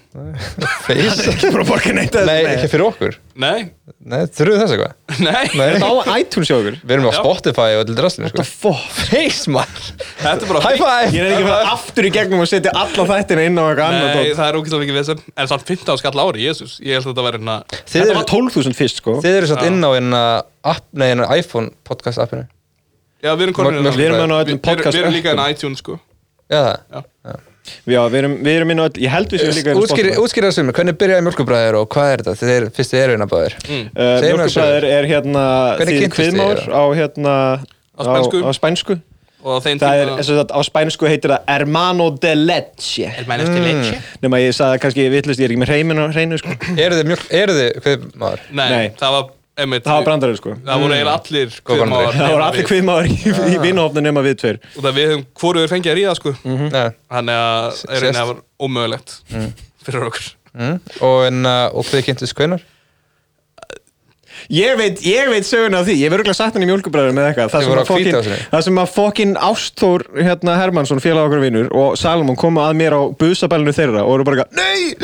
S1: Face
S3: Ekki bara að borga neitt
S1: Nei, ekki fyrir okkur
S2: nei,
S1: Nei, þurfum við þess eitthvað
S2: nei,
S1: Nei.
S3: Þá iTunes hjá okkur
S1: Við erum á
S2: Já.
S1: Spotify og öllu drastinu sko
S3: What the fuck
S1: Face maður
S2: Þetta er bara
S1: High
S3: Ég
S1: five
S3: er ekki að fara aftur í gegnum og setja alla þættina inn á eitthvað annað
S2: Nei,
S3: dót.
S2: það er ógæst mikið vesen En samt 15 skall ári, jésus Ég held að þetta væri hérna
S1: Þið
S3: Þetta
S1: eru-
S3: var 12.000 fyrst sko
S1: Þið eru satt inn á hérna app, nei, hérna iPhone podcast appinu
S2: Já, við erum konur
S1: Mörg-
S3: Við erum inn á öllum podcast
S2: Við erum líka inn
S3: öppum.
S2: á iTunes, sko
S1: Já, það
S2: Já.
S3: Já, við erum, við erum inn á öll Ég held við séum líka inn á
S1: Útskýri-
S3: Spotify
S1: Útskýra þessu mér, hvernig byrjaði mjölkubræðir og hvað er þetta? Þið er, fyrst þið eru hérna báðir
S3: Uh,
S1: Segjum mér
S3: Mjölkubræður
S1: þessu.
S3: er hérna
S1: Hvernig
S3: þýðing
S1: kynntust þið
S3: kviðmár
S1: þeirra?
S3: á hérna
S2: Á spænsku.
S3: á, á spænsku.
S2: Og á þeim
S3: Það er, þess að á spænsku heitir það Hermano de Leche
S2: mænast
S3: Mm.
S2: til leitsi
S3: Nefn að ég sagði kannski vitlust, ég er ekki með hreiminn á hreinu sko
S1: Eru þið mjölk, eru þið, hvað maður?
S2: Nei,
S3: Nei.
S2: það var einmitt,
S3: Það var brandarinn sko
S2: það voru eiginlega allir kviðmáðar
S3: Það voru allir kviðmáður í, í vinnahofnum nema við tveir
S2: og það við höfum hvorugur fengið að ríða sko
S1: Nei.
S2: þannig að það er
S1: Sést.
S2: einnig að var ómögulegt fyrir okkur
S1: Mm. Og, en, uh, og þið kynntist hvenar?
S3: Ég veit, ég veit söguna af því, ég verður ekki sagt hann í mjölkubræður með eitthvað Það
S1: Þið
S3: sem
S1: voru
S3: að
S1: á Hvításinu.
S3: fokkin- Það sem að fokkin Ástþór hérna, Hermansson, félag okkur vinnur og Salomon koma að mér á busabælinu þeirra og eru bara eitthvað Nei,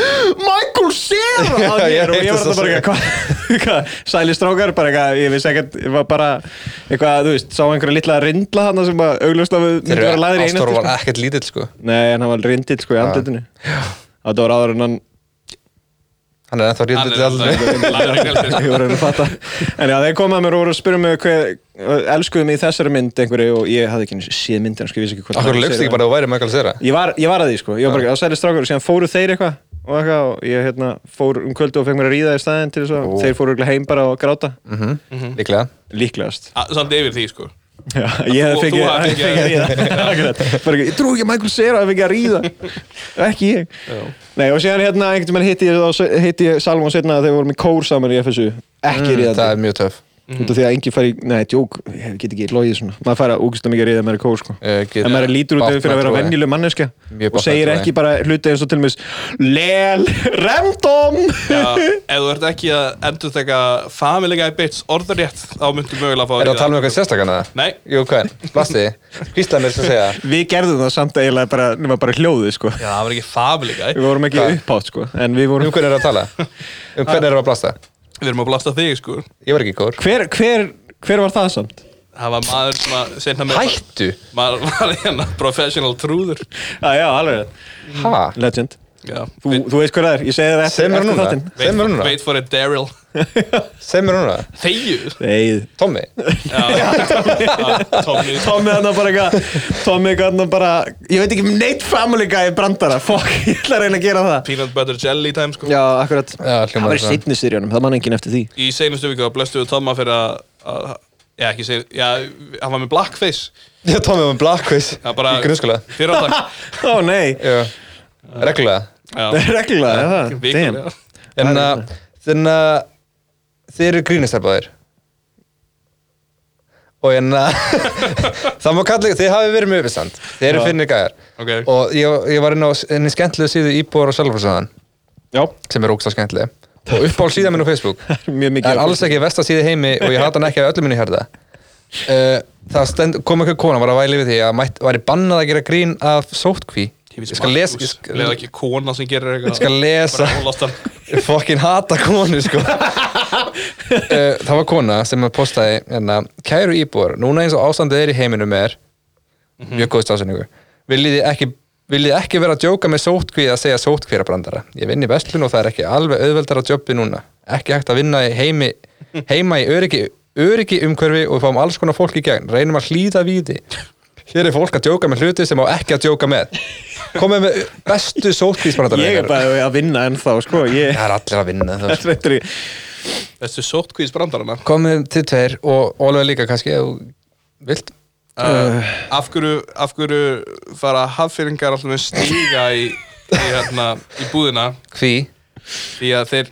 S3: Michael Cera að
S1: Já, ég
S3: mér og
S1: heyrði
S3: ég var
S1: þessa
S3: alltaf bara eitthvað "Hva- hvað, Sæli strákar, bara eitthvað Ég vissi ekkert, ég var bara eitthvað, þú veist, sá einhverja litla rindla þarna sem að augljóst að við myndi vera laðir í
S1: Ástór
S3: einhvern
S1: var ekkert lítill sko
S3: Nei, en hann var rindill sko í andlutinu Þetta var áður en hann
S1: Hann er ennþá
S2: Hann
S1: lítill
S2: er-
S1: allir
S2: hann er ekki alveg-
S3: ég voru að reyna að fatta en já, þeir komaði mér og voru að spyrja mig hvað elskuðu mig í þessari mynd einhverju og ég hafði ekki einu sinni séð myndina sko, ég vissi ekki hvort
S1: Akkur
S3: hann
S1: lögst
S3: sér
S1: ekki bara að þú væri Michael Cera
S3: það. ég var, ég var að því sko, ég var bara á sæli strákur og síðan fóru þeir eitthvað og, eitthvað, og ég hérna, fór um kvöldu og fekk mér að ríða í staðinn til þess að þeir fóru örugglega heim bara og gráta
S1: Mm. Mhm. Líklega
S3: líklegast
S2: Að- samt yfir því sko
S3: já, ég
S2: þú-
S3: hefði fengið
S2: þú hafðir fengið
S3: fengið að ríða Akkurat. Bara ekki, ég trú ekki að Michael Cera að fengið að ríða ekki ég Nei, og síðan hérna einhvern veginn hitti ég, þá- hitti ég Salomon setna þegar við vorum í kór saman í FSU ekki mm,
S1: Mhm, Það er mjög töf
S3: út af því að enginn fari, í- nei, djók, ég get ekki logið svona, maður fari að úkistum mikið að reyða meira kór, sko
S1: Ég Eh, get-
S3: en maður lítur út af því fyrir að vera
S1: Batman trúi.
S3: venjuleg manneskja
S1: Mjög
S3: og
S1: Batman
S3: segir
S1: trúi.
S3: ekki bara hluti eins og til og meins LEL REMDOM
S2: Já, ef þú ert ekki að endur þekka Family Guy bits orðrétt þá myndum mögulega að fá að
S1: Er það að
S2: ríða.
S1: tala um eitthvað sérstakana?
S2: Nei.
S1: Jú, hvern? Basti, hvíslan er sem segja
S3: Við gerðum það samt eiginlega bara, nema bara hljóðið, sko
S2: Já, það var ekki Family Guy
S3: Við vorum ekki
S1: Hvað?
S3: upphátt, sko, en við
S1: Um
S3: vorum
S1: hvern er að tala? Um hvern er að blasta?
S2: Við erum að blasta þig sko
S1: Ég var ekki í kór
S3: Hver, hver, hver var það samt?
S2: Það var maður sem að senna með
S1: Hættu?
S2: Maður var hérna professional trúður
S3: Já, Ah, já, alveg,
S1: Ha?
S3: legend
S2: Já,
S3: Þú, þú veist hver það er, ég segi það
S1: Segð
S3: eftir,
S1: mér
S3: eftir
S1: núna.
S3: þáttinn
S1: Segð mér núna.
S2: Wait for it, Daryl
S1: Segð mér núna
S2: Þegju
S3: Nei,
S1: Tommy
S2: Já, Tommy
S3: Tommy hann bara eitthvað Tommy hann bara Ég veit ekki um neitt family guy brandara Fuck, ég ætla að reyna að gera það
S2: Peanut butter jelly time sko
S3: Já, akkurat
S1: Já, hljómar
S3: Það var í
S1: svona.
S3: seinni sirjónum, það man enginn eftir því
S2: Í seinustu viku þá blöstu við Tomma fyrir að, að Já, ekki segir Já, hann var með blackface
S1: Já, Tommy var með blackface
S2: Það bara
S1: Í grunnskóla
S2: Fyrir á dag
S3: Ó nei,
S1: Já Reglulega
S2: Já,
S3: reglulega er það Damn.
S2: vikulega
S1: En að Þannig að Þið eru grínistarpaðir Og en að Það má kalla Þið hafi verið mjög uppstand Þið eru finnir gæjar
S2: Ok.
S1: Og ég, ég var inn á inn í skemmtilegu síðu Íbúar og Sjálfursaðan
S3: Já,
S1: Sem er ógsta skemmtileg Og uppáhald síðan minn á Facebook
S3: mjög mikið
S1: Það er alls ekki versta síði heimi og ég hata hann ekki af öllum minni hérða. Uh, það stend, kom einhver kona var að væli við því að mætt, væri bannað að gera grín af sótkví. Ég skal lesa, ég skal,
S2: Leða ekki kona sem gerir eitthvað
S1: ég skal lesa,
S2: Bara ólast hann
S1: ég fokkin hata konu sko. uh, það var kona sem að postaði, hérna, kæru íbúar, núna eins og ástandið er í heiminum er,
S3: Mhm.
S1: mjög góð stafsendingu, viljið þið ekki Viljið þið ekki vera að djóka með sótkví að segja sótkvírabrandara? Ég vinn í vestlun og það er ekki alveg auðveldar að jobbi núna. Ekki hægt að vinna í heimi, heima í öryggi, öryggi umhverfi og við fáum alls konar fólk í gegn. Reynum að hlýða við því. Hér er fólk að djóka með hluti sem á ekki að djóka með. Komið með bestu sótkvísbrandara.
S3: Ég er bara að vinna ennþá, sko Ég
S1: Það er allir að vinna. þú veist.
S3: Þetta er í-
S2: Þessu sótkvís brandarana
S1: Komið til tveir og Ólega líka kannski ef þú vilt.
S2: uh, af, hverju, af hverju fara haffyrringar alltaf með stíga í, í, hérna, í búðina
S1: Hví?
S2: því að þeir,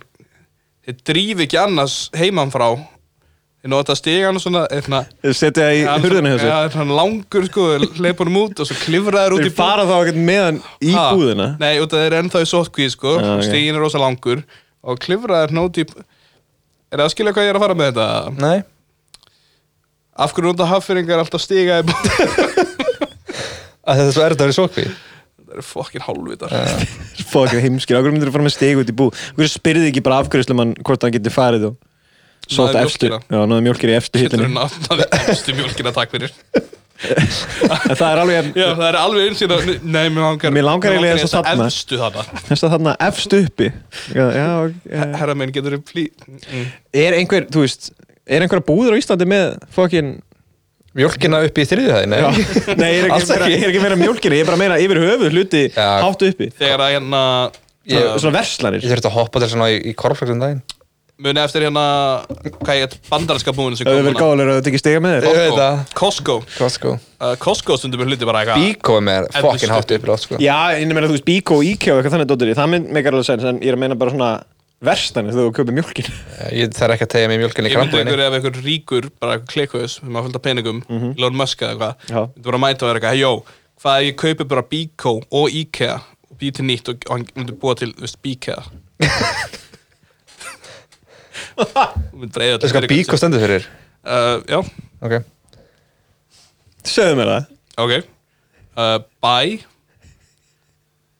S2: þeir drífi ekki annars heiman frá þeir nota stígan og svona hérna,
S3: Setja það í hurðina hjá sér
S2: ja, hann langur sko, leipur hann út og svo klifra þeir út
S3: Þeir
S2: í búð-
S3: fara þá ekkert meðan í
S2: Ha?
S3: búðina
S2: Nei, út að þeir eru ennþá í sótkvíð sko,
S3: Já, ok.
S2: stígin er rosa langur og klifra þeir nóti er það að skilja hvað ég er að fara með þetta?
S1: Nei.
S2: Af hverju nota haffyrringar alltaf stíga í búðina?
S1: Að þetta er svo erfitt að vera í sótkví.
S2: það eru fokkin hálfvitar
S3: Fokk heimskir, okkur myndir að fara með stig út í bú Okkur spyrði ekki bara afgjörslu mann hvort hann getur farið og Sótt
S2: Náði
S3: efstu,
S2: mjólkina.
S3: já, náðu mjólkir í efstu
S2: Getur
S3: hillinni
S2: hann náttúrulega efstu mjólkina takk fyrir
S3: En það er alveg,
S2: Já, það er alveg eins og hérna- Nei, mér langar
S3: Mér langar eiginlega eins og
S2: að
S3: þarna.
S2: Efstu þarna
S3: þess að þarna efst uppi já, já, ok.
S2: Herra minn, getur þið plí mm.
S3: er einhver, þú veist er einhver búður á Íslandi með fokkin
S1: Mjölkina upp í þriðhæðin,
S3: nei,
S1: nei?
S3: ég er ekki,
S1: Alls
S3: ekki. Vera,
S1: ekki.
S3: ég er ekki meira mjölkina, ég er bara að meina yfir höfuð hluti
S1: Já.
S3: hátt uppi
S2: Þegar að hérna
S1: Ég-
S3: Svona- svona verslanir
S1: Ég þurfti að hoppa til svona í, í korflöksum daginn.
S2: Muni eftir hérna Hvað ég get bandarinska búinu sem
S3: það hefur verið
S2: núna.
S3: gáðulega að þetta ekki stiga með
S1: Ég
S3: þér
S1: veit það.
S2: Costco
S1: Costco.
S2: Uh, Costco stundum er hluti bara eitthvað
S1: Bíko er með
S2: Ellestu.
S1: fokkin hátt upp í lót, sko.
S3: já, en ég meina þú veist Bíko og Íkja og eitthvað þannig dóttir það mynd meikar alveg sens, en ég er að meina bara svona verstan er þegar þú kaupir mjölkin
S1: Ég þarf ekki að tegja mig mjölkinni í
S2: Ég myndi ykkur
S1: krampuðinni
S2: ef ykkur ríkur, bara klikkuðus með maður fullt af peningum, mm -hmm. Elon Musk eða eitthvað
S3: Já.
S2: myndi bara mæta og vera eitthvað, jó hvað ef ég kaupi bara Biko og IKEA og býð til nýtt og, og hann myndi búa til þú veist, Bikea Þú myndi dreigja
S1: Það skal bík og stendur fyrir
S2: uh, Já,
S1: Ok
S3: segðu mér það
S2: ok uh, Bi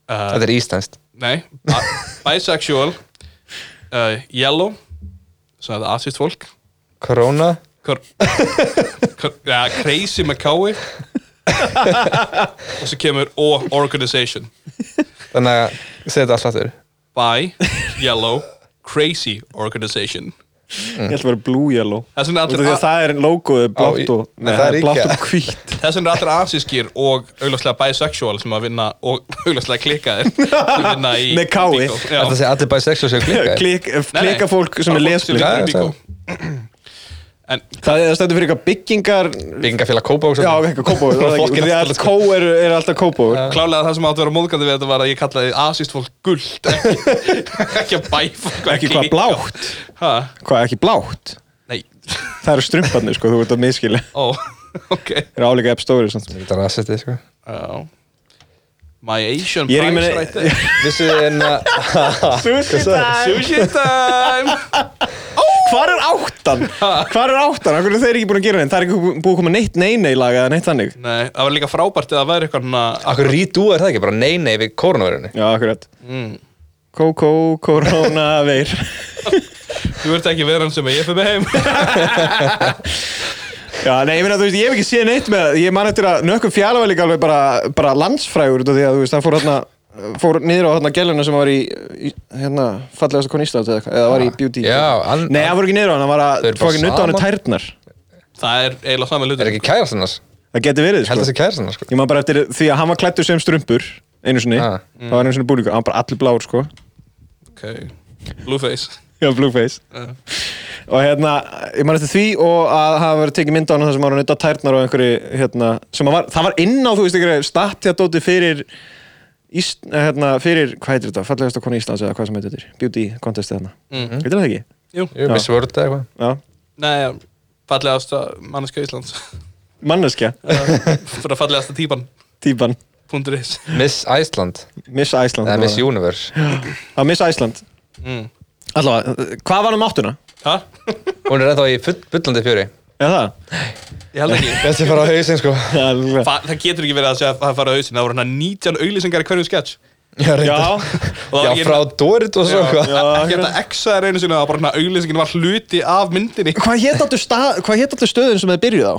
S1: Þetta er íslenskt
S2: Nei, bi- bisexual uh, Yellow sem er það asist fólk
S1: Corona
S2: Kor, kor, ja, Crazy McCoy og svo kemur O Organization
S1: Þannig að segja þetta alls aftur
S2: Bi, Yellow, Crazy Organization
S3: ég ætla að vera blue yellow
S2: Það er svona
S3: Út af
S2: allir-
S3: því að það er logoðu
S1: Á,
S3: blátt
S1: í-
S3: og nei,
S1: en það
S3: það
S1: er
S3: er blátt
S1: IKEA.
S3: og hvít
S2: Þess vegna er allir asískir og augljóslega bisexual sem að vinna og augljóslega klikkaðir sem vinna í
S3: Með kái.
S2: Bíkó. Já.
S1: Þetta segja allir bisexual séu klikkað
S3: Klik,
S2: Nei, nei,
S3: klika fólk sem er
S2: bara
S3: lesbík
S1: Já,
S2: vinnur í
S1: já,
S2: Bíkó. En
S3: það er það stendur fyrir eitthvað byggingar
S1: Byggingafélag Kópa
S3: já, eitthvað kópóður það er
S1: Fólk
S3: ekki,
S1: er
S3: því að
S1: alltaf-
S3: kó eru er alltaf kópóður
S2: klálega það sem átt að vera móðgandi við þetta var að ég kallaði asist fólk gult ekki, ekki að bæfa
S3: ekki hvað blátt
S2: ha?
S3: hvað ekki blátt
S2: Nei,
S3: það eru strumparnir sko, þú ert að miskili
S2: ó, ok
S3: það eru álíka app story samt.
S1: Þetta er aðsetti sko
S2: Já. My Asian
S3: Ég er
S2: price
S3: ekki meina-
S2: right there
S1: Vissu þið en að Ah,
S3: Sushi time
S2: Sushi time
S3: Hvar er áttan? Hvar er áttan? Akkur er þeir ekki búin að gera neitt? Það er ekki búin að koma neitt neina í laga eða neitt þannig
S2: Nei, það var líka frábært eða það væri eitthvað svona "Ah,
S1: Akkur rítú er það ekki bara nei nei við koronavörunni
S3: Já, akkurat
S1: Mm.
S3: Kókó, koronaveir
S2: Þú ert ekki veran sem ég fyrir mig heim
S3: Já, nei, ég meina, þú veist, ég hef ekki séð neitt með það Ég man eftir að nökkum fjala var líka alveg bara, bara landsfrægur út af því að, þú veist, hann fór hérna fór niður á hérna gæluna sem var í, í hérna, fallegasta kon Íslands eða, eitthvað, eða var í beauty
S1: Ah, Já, hann-
S3: Nei, hann fór ekki niður á hann, hann var
S1: Þau
S3: að
S1: eru bara
S3: fókin nutta á hann
S1: saman.
S3: tærnar
S2: Það er eiginlega saman
S1: Er
S2: hlutur
S1: ekki kærastan hans?
S3: Það geti verið,
S1: Held
S3: sko
S1: að sé kærastan hans sko
S3: Ég man bara eftir því að hann var klættur sem strumpur einu sinni,
S1: Ah.
S3: það var einu sinni búningur hann var bara allir blár, sko
S2: okay. Blueface
S3: Já, Blueface
S2: Ah.
S3: Og hérna, ég man eftir því og að hafa verið tekið mynd á hann þar sem var hann auðvitað tærnar og einhverju, hérna, sem að var, það var inn á, þú veist, einhverju statjadóti fyrir Íst, eh, hérna, fyrir, hvað heitir þetta, fallegasta konu Íslands eða hvað sem heitir þetta, beauty contesti þarna
S2: Mhm.
S3: Heitir það ekki?
S2: Jú,
S1: Jú, Miss World eða eitthvað
S3: Já,
S2: nei, fallegasta manneskja Íslands
S3: manneskja,
S2: Fyrir að fallegasta típan
S3: típan
S2: Pundur is
S1: Miss Iceland
S3: Miss Iceland
S1: eða
S3: var
S1: Miss
S3: það.
S1: Universe
S3: Já, Miss Iceland
S2: mm.
S3: Allavega, eh, hvað var hann um áttuna?
S2: Ha?
S1: Hún er ennþá í full, bullandi fjöri
S3: Já, það?
S2: Ég held ekki
S1: Besti fara á hausinn sko
S3: Já, alveg.
S2: Fa, það getur ekki verið að segja að það fara á hausinn, það voru hann 19 auglýsingar í hverju sketch
S1: Já, reyndar.
S3: Já,
S2: Og
S1: Já,
S2: ég- hérna-
S1: frá Dorit og svo
S2: ekki
S1: eitthvað
S2: hægt að exa þær hérna einu sinni það var bara hann að auglýsingin var hluti af myndinni
S3: hvað hétt áttu, stað- hvað hét áttu stöðin sem þið byrjuð á?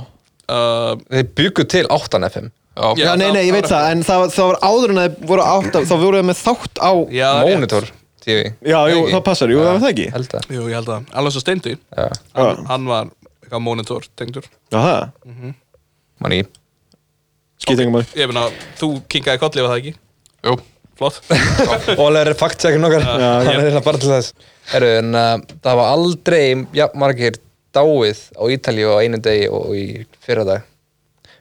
S2: uh,
S1: Þeir byggu til 8 FM
S4: Já,
S2: Já.
S3: Já, nei,
S2: það-
S3: nei, ég veit
S2: það
S3: það, en það, var- það var áður en það voru átt, þá voru það með þátt á
S2: já,
S1: Monitor TV
S3: Já, jú,
S1: Ekki?
S3: það passar, jú, það var það ekki
S1: Held að
S2: rétt. Jú, ég held að Alveg svo steindi
S1: Já,
S2: hann, hann var eitthvað monitor tengdur
S3: Já, það,
S1: manni
S3: skýt engum að
S2: Ég meina, þú kinkaði kolli var það ekki
S4: Jú,
S2: Flott
S1: Ólega er fact-checkin okkar Hann er hérna bara til þess Herru, en uh, það var aldrei ja, margir dáið á Ítalíu á einu degi og í fyrradag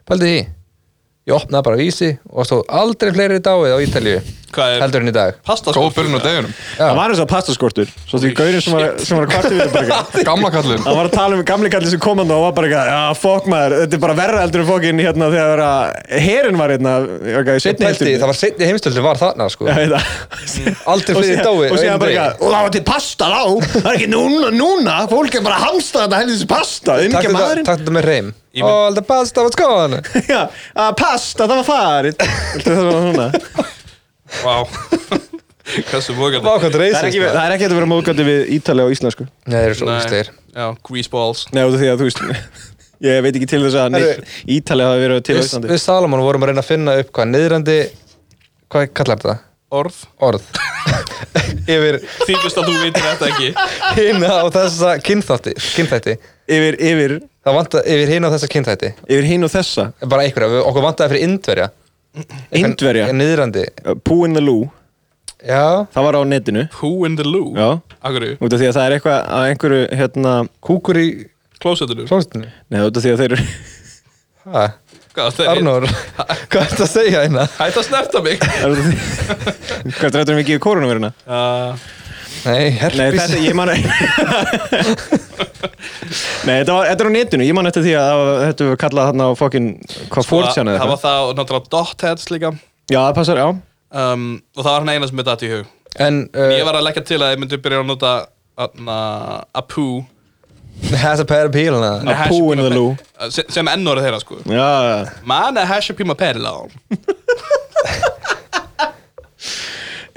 S1: Pældi því Ég opnaði bara vísi og stóð aldrei fleiri dáið á Ítalíu
S2: Hvað er-
S1: Heldur en í dag
S2: Pasta sko?
S4: góð byrjun á deginum
S3: Það var eins og pastaskortur, svo því gaurinn sem var, sem var að kvartu við þetta bara eitthvað
S4: Gamla kallin
S3: Það var að tala um gamli kalli sem kom hann og var bara eitthvað, já, fokk maður, þetta er bara verra eldur en fokkin hérna þegar að herin var hérna, eitthvað, í
S1: Ég
S3: setni
S1: Pældi, því, það var setni heimstöldi var þarna sko
S3: Já, ég veit það.
S1: Aldrei
S3: Og
S1: fleiri
S3: síðan-
S1: dáið á
S3: Og síðan
S1: einum
S3: bara
S1: degi.
S3: eitthvað, og það var til pasta þá Það er ekki núna, núna, fólk er bara að hamsta þetta helvins pasta
S1: Takk
S3: Umgja
S1: þetta,
S3: maðurinn
S1: takk þetta með reym
S2: Ég mun-
S1: All the pasta was gone
S3: Já, að pasta, það var farið Það var svona
S2: Vá Hversu vokandi
S1: Vá, hvað
S3: Það er
S1: reysist
S3: ekki, það er ekki hægt að vera móðgandi við ítalega og íslensku Nei,
S1: sko. Nei, þeir eru svo úrstegir
S2: Já, greaseballs
S3: út af því að þú veist Ég veit ekki til þess að
S1: Herru.
S3: neitt ítalega hafi verið til á
S1: Við,
S3: Íslandi
S1: við Salomon vorum að reyna að finna upp hvað niðrandi Hvað kallar þetta?
S2: Orð
S1: Orð Yfir
S2: Þýkust að þú vitir þetta ekki
S1: hina á þessa kynþátti, kynþætti
S3: Yfir, yfir,
S1: það vantaði yfir hina á þessa kynþætti
S3: yfir hinn og þessa
S1: bara einhverja, við, okkur vantaði fyrir indverja
S3: Indverja,
S1: niðrandi,
S3: Poo in the Lou
S1: já,
S3: Það var á netinu
S2: Who in the loo
S3: Já,
S2: Akkur
S3: út af því að það er eitthvað að einhverju, hérna
S1: kúkur í
S2: Klósetinu
S1: klóstinu
S3: Nei, út af því að þeir eru
S1: ha,
S2: Hvað það er
S1: Arnór, hvað ertu að segja hérna?
S2: Hætt að snerta mig
S3: Hvað er þetta mikið í koronaviruna?
S2: uh,
S1: Nei,
S3: Nei,
S1: herpes
S3: þetta, ég man Nei, þetta, var, þetta er á netinu, ég man eftir því að það var- þetta var kallað þarna á fokkin hvað fórtjánu
S2: Sko, Það
S3: eða
S2: var
S3: eitthvað
S2: það og náttúrulega Dotheads líka
S3: Já, það passar, já
S2: um, og það var hann eina sem með datt í hug
S1: En
S2: Ég
S1: uh,
S2: var að leggja til að ég myndi byrja að nota atna, Apu
S1: has a pair of peel hana.
S2: Hash
S3: poo in the
S2: Pima-
S3: loo.
S2: sem, sem ennórið þeirra sko
S3: Já,
S2: Man að hasha píma perla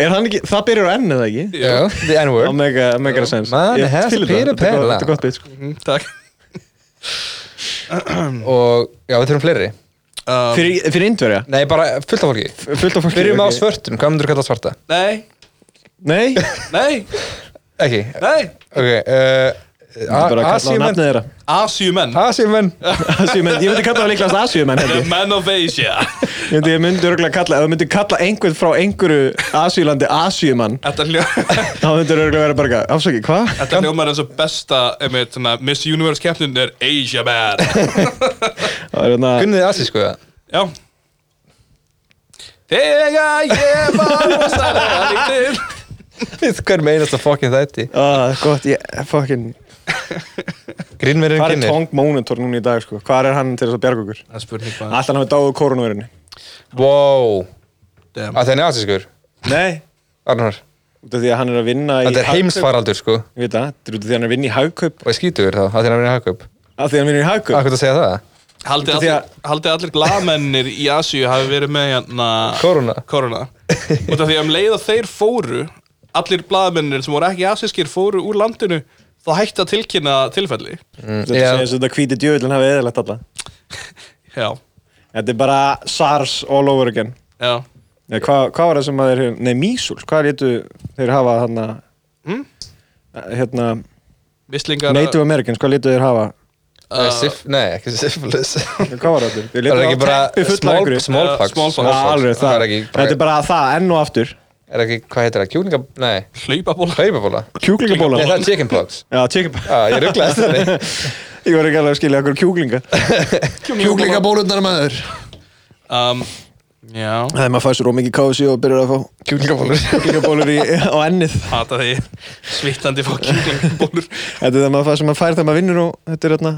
S3: er hann ekki, það byrjar á enn eða ekki?
S1: Já, the
S3: Já,
S1: n-word
S3: mega, mega sens
S1: Man
S3: Ég
S1: has
S3: fíla
S1: a Peter
S3: þetta, þetta er
S1: Pan.
S3: gott- Þetta er gott bit, sko
S2: Mhm, Takk
S1: Og, já, við þurfum fleiri
S2: um,
S3: Fyrir, fyrir indverja?
S1: Nei, bara fullt af fólki
S3: Fullt af fólki
S1: Byrjum á
S3: ok.
S1: svörtum, hvað myndur þú kalla svarta?
S2: Nei,
S3: Nei,
S2: nei,
S1: Ekki,
S2: nei
S1: ok uh,
S3: bara að kalla á
S1: Asíumenn
S3: nafnið Ah. þeirra
S2: Asjumenn
S1: Asíumenn
S3: Asíumenn, ég myndi kalla það líklast Asíumenn held
S2: The
S3: ég
S2: man of Asia
S3: Ég myndi, ég myndi örgulega kalla, ef þú myndi kalla einhvern frá einhverju Asíulandi Asíumann
S2: Þetta hljó
S3: þá myndir örgulega vera bara, eitthvað, afsakið, hvað?
S2: Þetta hljómar eins og besta einmitt, svona, Miss Universe keppnin er Asia Man
S3: Það er hérna
S1: Gunnið asísku það
S2: Já Þegar ég var rosalega lítil
S1: Hver meinast að fokkin þætti
S3: Ah, gott, ég, fucking
S1: Grinnverðin
S3: Hvað er
S1: kynir
S3: Tong Monitor núna í dag, sko? Hvað er hann til þess að bjarga okkur?
S2: Það er spurning
S1: Ah.
S2: bara
S3: Alltaf hann hefur dáið koronavirinni
S1: Wow,
S2: Damn.
S1: að þenni asískur
S3: Nei
S1: Arnar,
S3: Út af því að hann er að vinna í
S1: þetta er
S3: hagkaup-
S1: heimsfaraldur sko Og
S3: Ég veit það, þetta er út af því að hann er að vinna í hagkaup
S1: ég skítur þá, að þenni að vinna hagkaup
S3: Af því að hann vinnur í hagkaup
S1: Akkur að segja það
S2: Haldið
S3: Því
S2: allir,
S3: að-
S2: haldið allir glamennir í Asíu hafi verið með hérna
S1: Corona.
S2: Korona Út af því að um leið að þeir fóru Allir bladamennir sem voru ekki asískir fóru úr landinu Þá hætti að tilkynna tilfelli
S1: Já.
S3: Þetta yeah. segir þetta hvíti djöðlinn hafi eðalegt alla
S2: Já,
S3: Þetta er bara SARS all over again
S2: já
S3: Nei, hvað, hvað var það sem að þeir, nei, mísúls, hvað létu þeir hafa hann að,
S1: Hm?
S2: Mm?
S3: hérna,
S2: Vislingar
S3: Native Americans, hvað létu þeir hafa,
S1: Nei, syf- Nei, ekki syphilis Það
S3: hvað var það þeir? Þeir
S1: er
S3: létu
S1: ekki
S3: hafa
S1: bara
S3: teppi fulla
S1: small-
S3: einhverju.
S1: smallpox
S2: Uh, smallpox.
S3: Já, alveg, það,
S1: er ekki,
S3: þetta er bara það enn og aftur,
S1: er ekki, hvað heitir það, kjúlinga, nei,
S2: Hlaupaból
S1: hlaupabóla
S3: kjúklingabóla.
S1: Nei, það er chickenpox
S3: Já, tjekkabóla.
S1: Já, ég rugglaðist þenni
S3: Ég var ekki alveg að skilja okkur kjúklinga.
S4: Kjúklingabólundar maður
S2: um, Já
S3: Það er maður fæsir ómikið kási og byrjar að fá
S1: Kjúlingabólur
S3: kjúklingabólur í, á ennið.
S2: hata því svittandi fá kjúklingbólur
S3: Þetta er það maður fæ- sem maður fær þegar maður vinnur og þetta er þarna,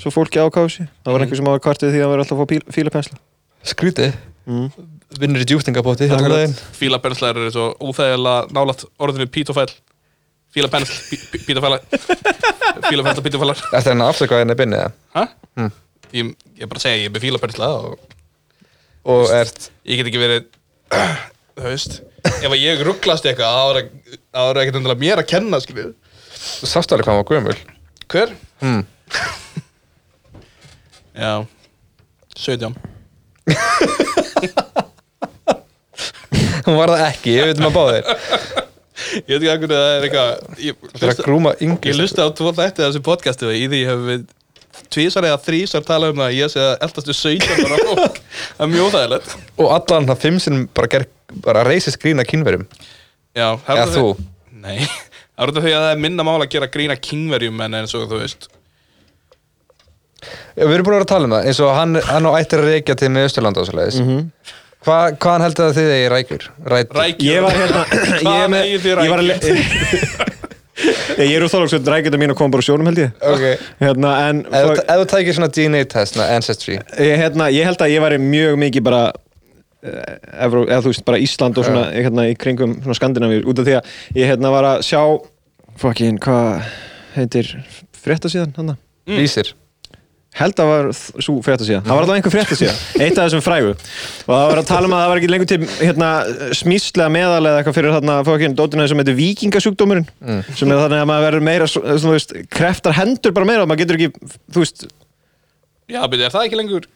S3: svo fólki á kási. Það var einhver sem var kvartið því að vera alltaf að fá píl, fílapensla.
S1: Skrítið Vinnur í djúftingapótti Þetta er daginn
S2: fílapenslar eru svo óþægilega nálat orðinu pítofæl fílapensl, pí- pítofæla fílapensla, pítofælar
S1: Þetta er hann að afsaka hérna henni binni það
S2: Hæ?
S3: Hm.
S2: ég, ég bara segja ég er með fílapensla og
S1: Og ert
S2: ég get ekki verið þú veist ef að ég rugglast í eitthvað þá er það- þá er það ekkert endilega mér að kenna skiljið
S1: Þú sást alveg hvað hann var gömul
S2: hver?
S1: Mm.
S2: já 17
S1: Hún var það ekki Ég veit maður báðir
S2: ég veit ekki að hvernig það er eitthvað ég,
S1: Þetta er að grúma
S2: Ég
S1: yngri
S2: lusti á tvo þætti af þessu podcasti og í því hefum við tvísar eða þrísar talað um það að ég sé að eldastu 17 ára fólk það er mjög óþægilegt
S1: Og allan það fimm sinnum bara ger Bara reysi skrína kynverum
S2: Já, það
S1: Eða
S2: út af
S1: þú?
S2: því- Nei, það er út af því að það er minna mál að gera grína kingverjum en eins og þú veist
S1: Við erum búin að vera að tala um það eins og hann, hann á ættir að reykja til með Östurlanda og svoleiðis mm -hmm. Hva, Hvaðan heldur það þið eigi rækjur? Rætur?
S2: Rækjur
S3: Ég var hérna, ég
S2: Hvað
S3: er með,
S2: eigið þið
S3: ég var að le...
S2: rækjur?
S3: Ég, ég er úr þálags að drækjönda mín og kom bara úr sjónum held ég.
S1: Ok.
S3: Hérna, en...
S1: Ef þú- ef þú tækir svona DNA test, svona ancestry
S3: ég, hérna, ég held að ég væri mjög mikið bara eh, Evró, eða þú veist, bara Ísland og svona hérna, í kringum svona Skandinavíur út af því að ég hérna var að sjá fucking, hvað heitir fréttasíðan hann
S1: Vísir
S3: held að var svo fréttasíða það var alltaf einhver fréttasíða, eitt af þessum frægu og það var að tala um að það var ekki lengur til hérna, smýslega meðal eða eitthvað fyrir þarna fokkin dótina sem heitir vikingasjúkdómurinn
S2: Mm.
S3: sem er þannig að maður verður meira svo- svona, þú veist, kreftar hendur bara meira og maður getur ekki, þú veist,
S2: Já, byrja, er það ekki lengur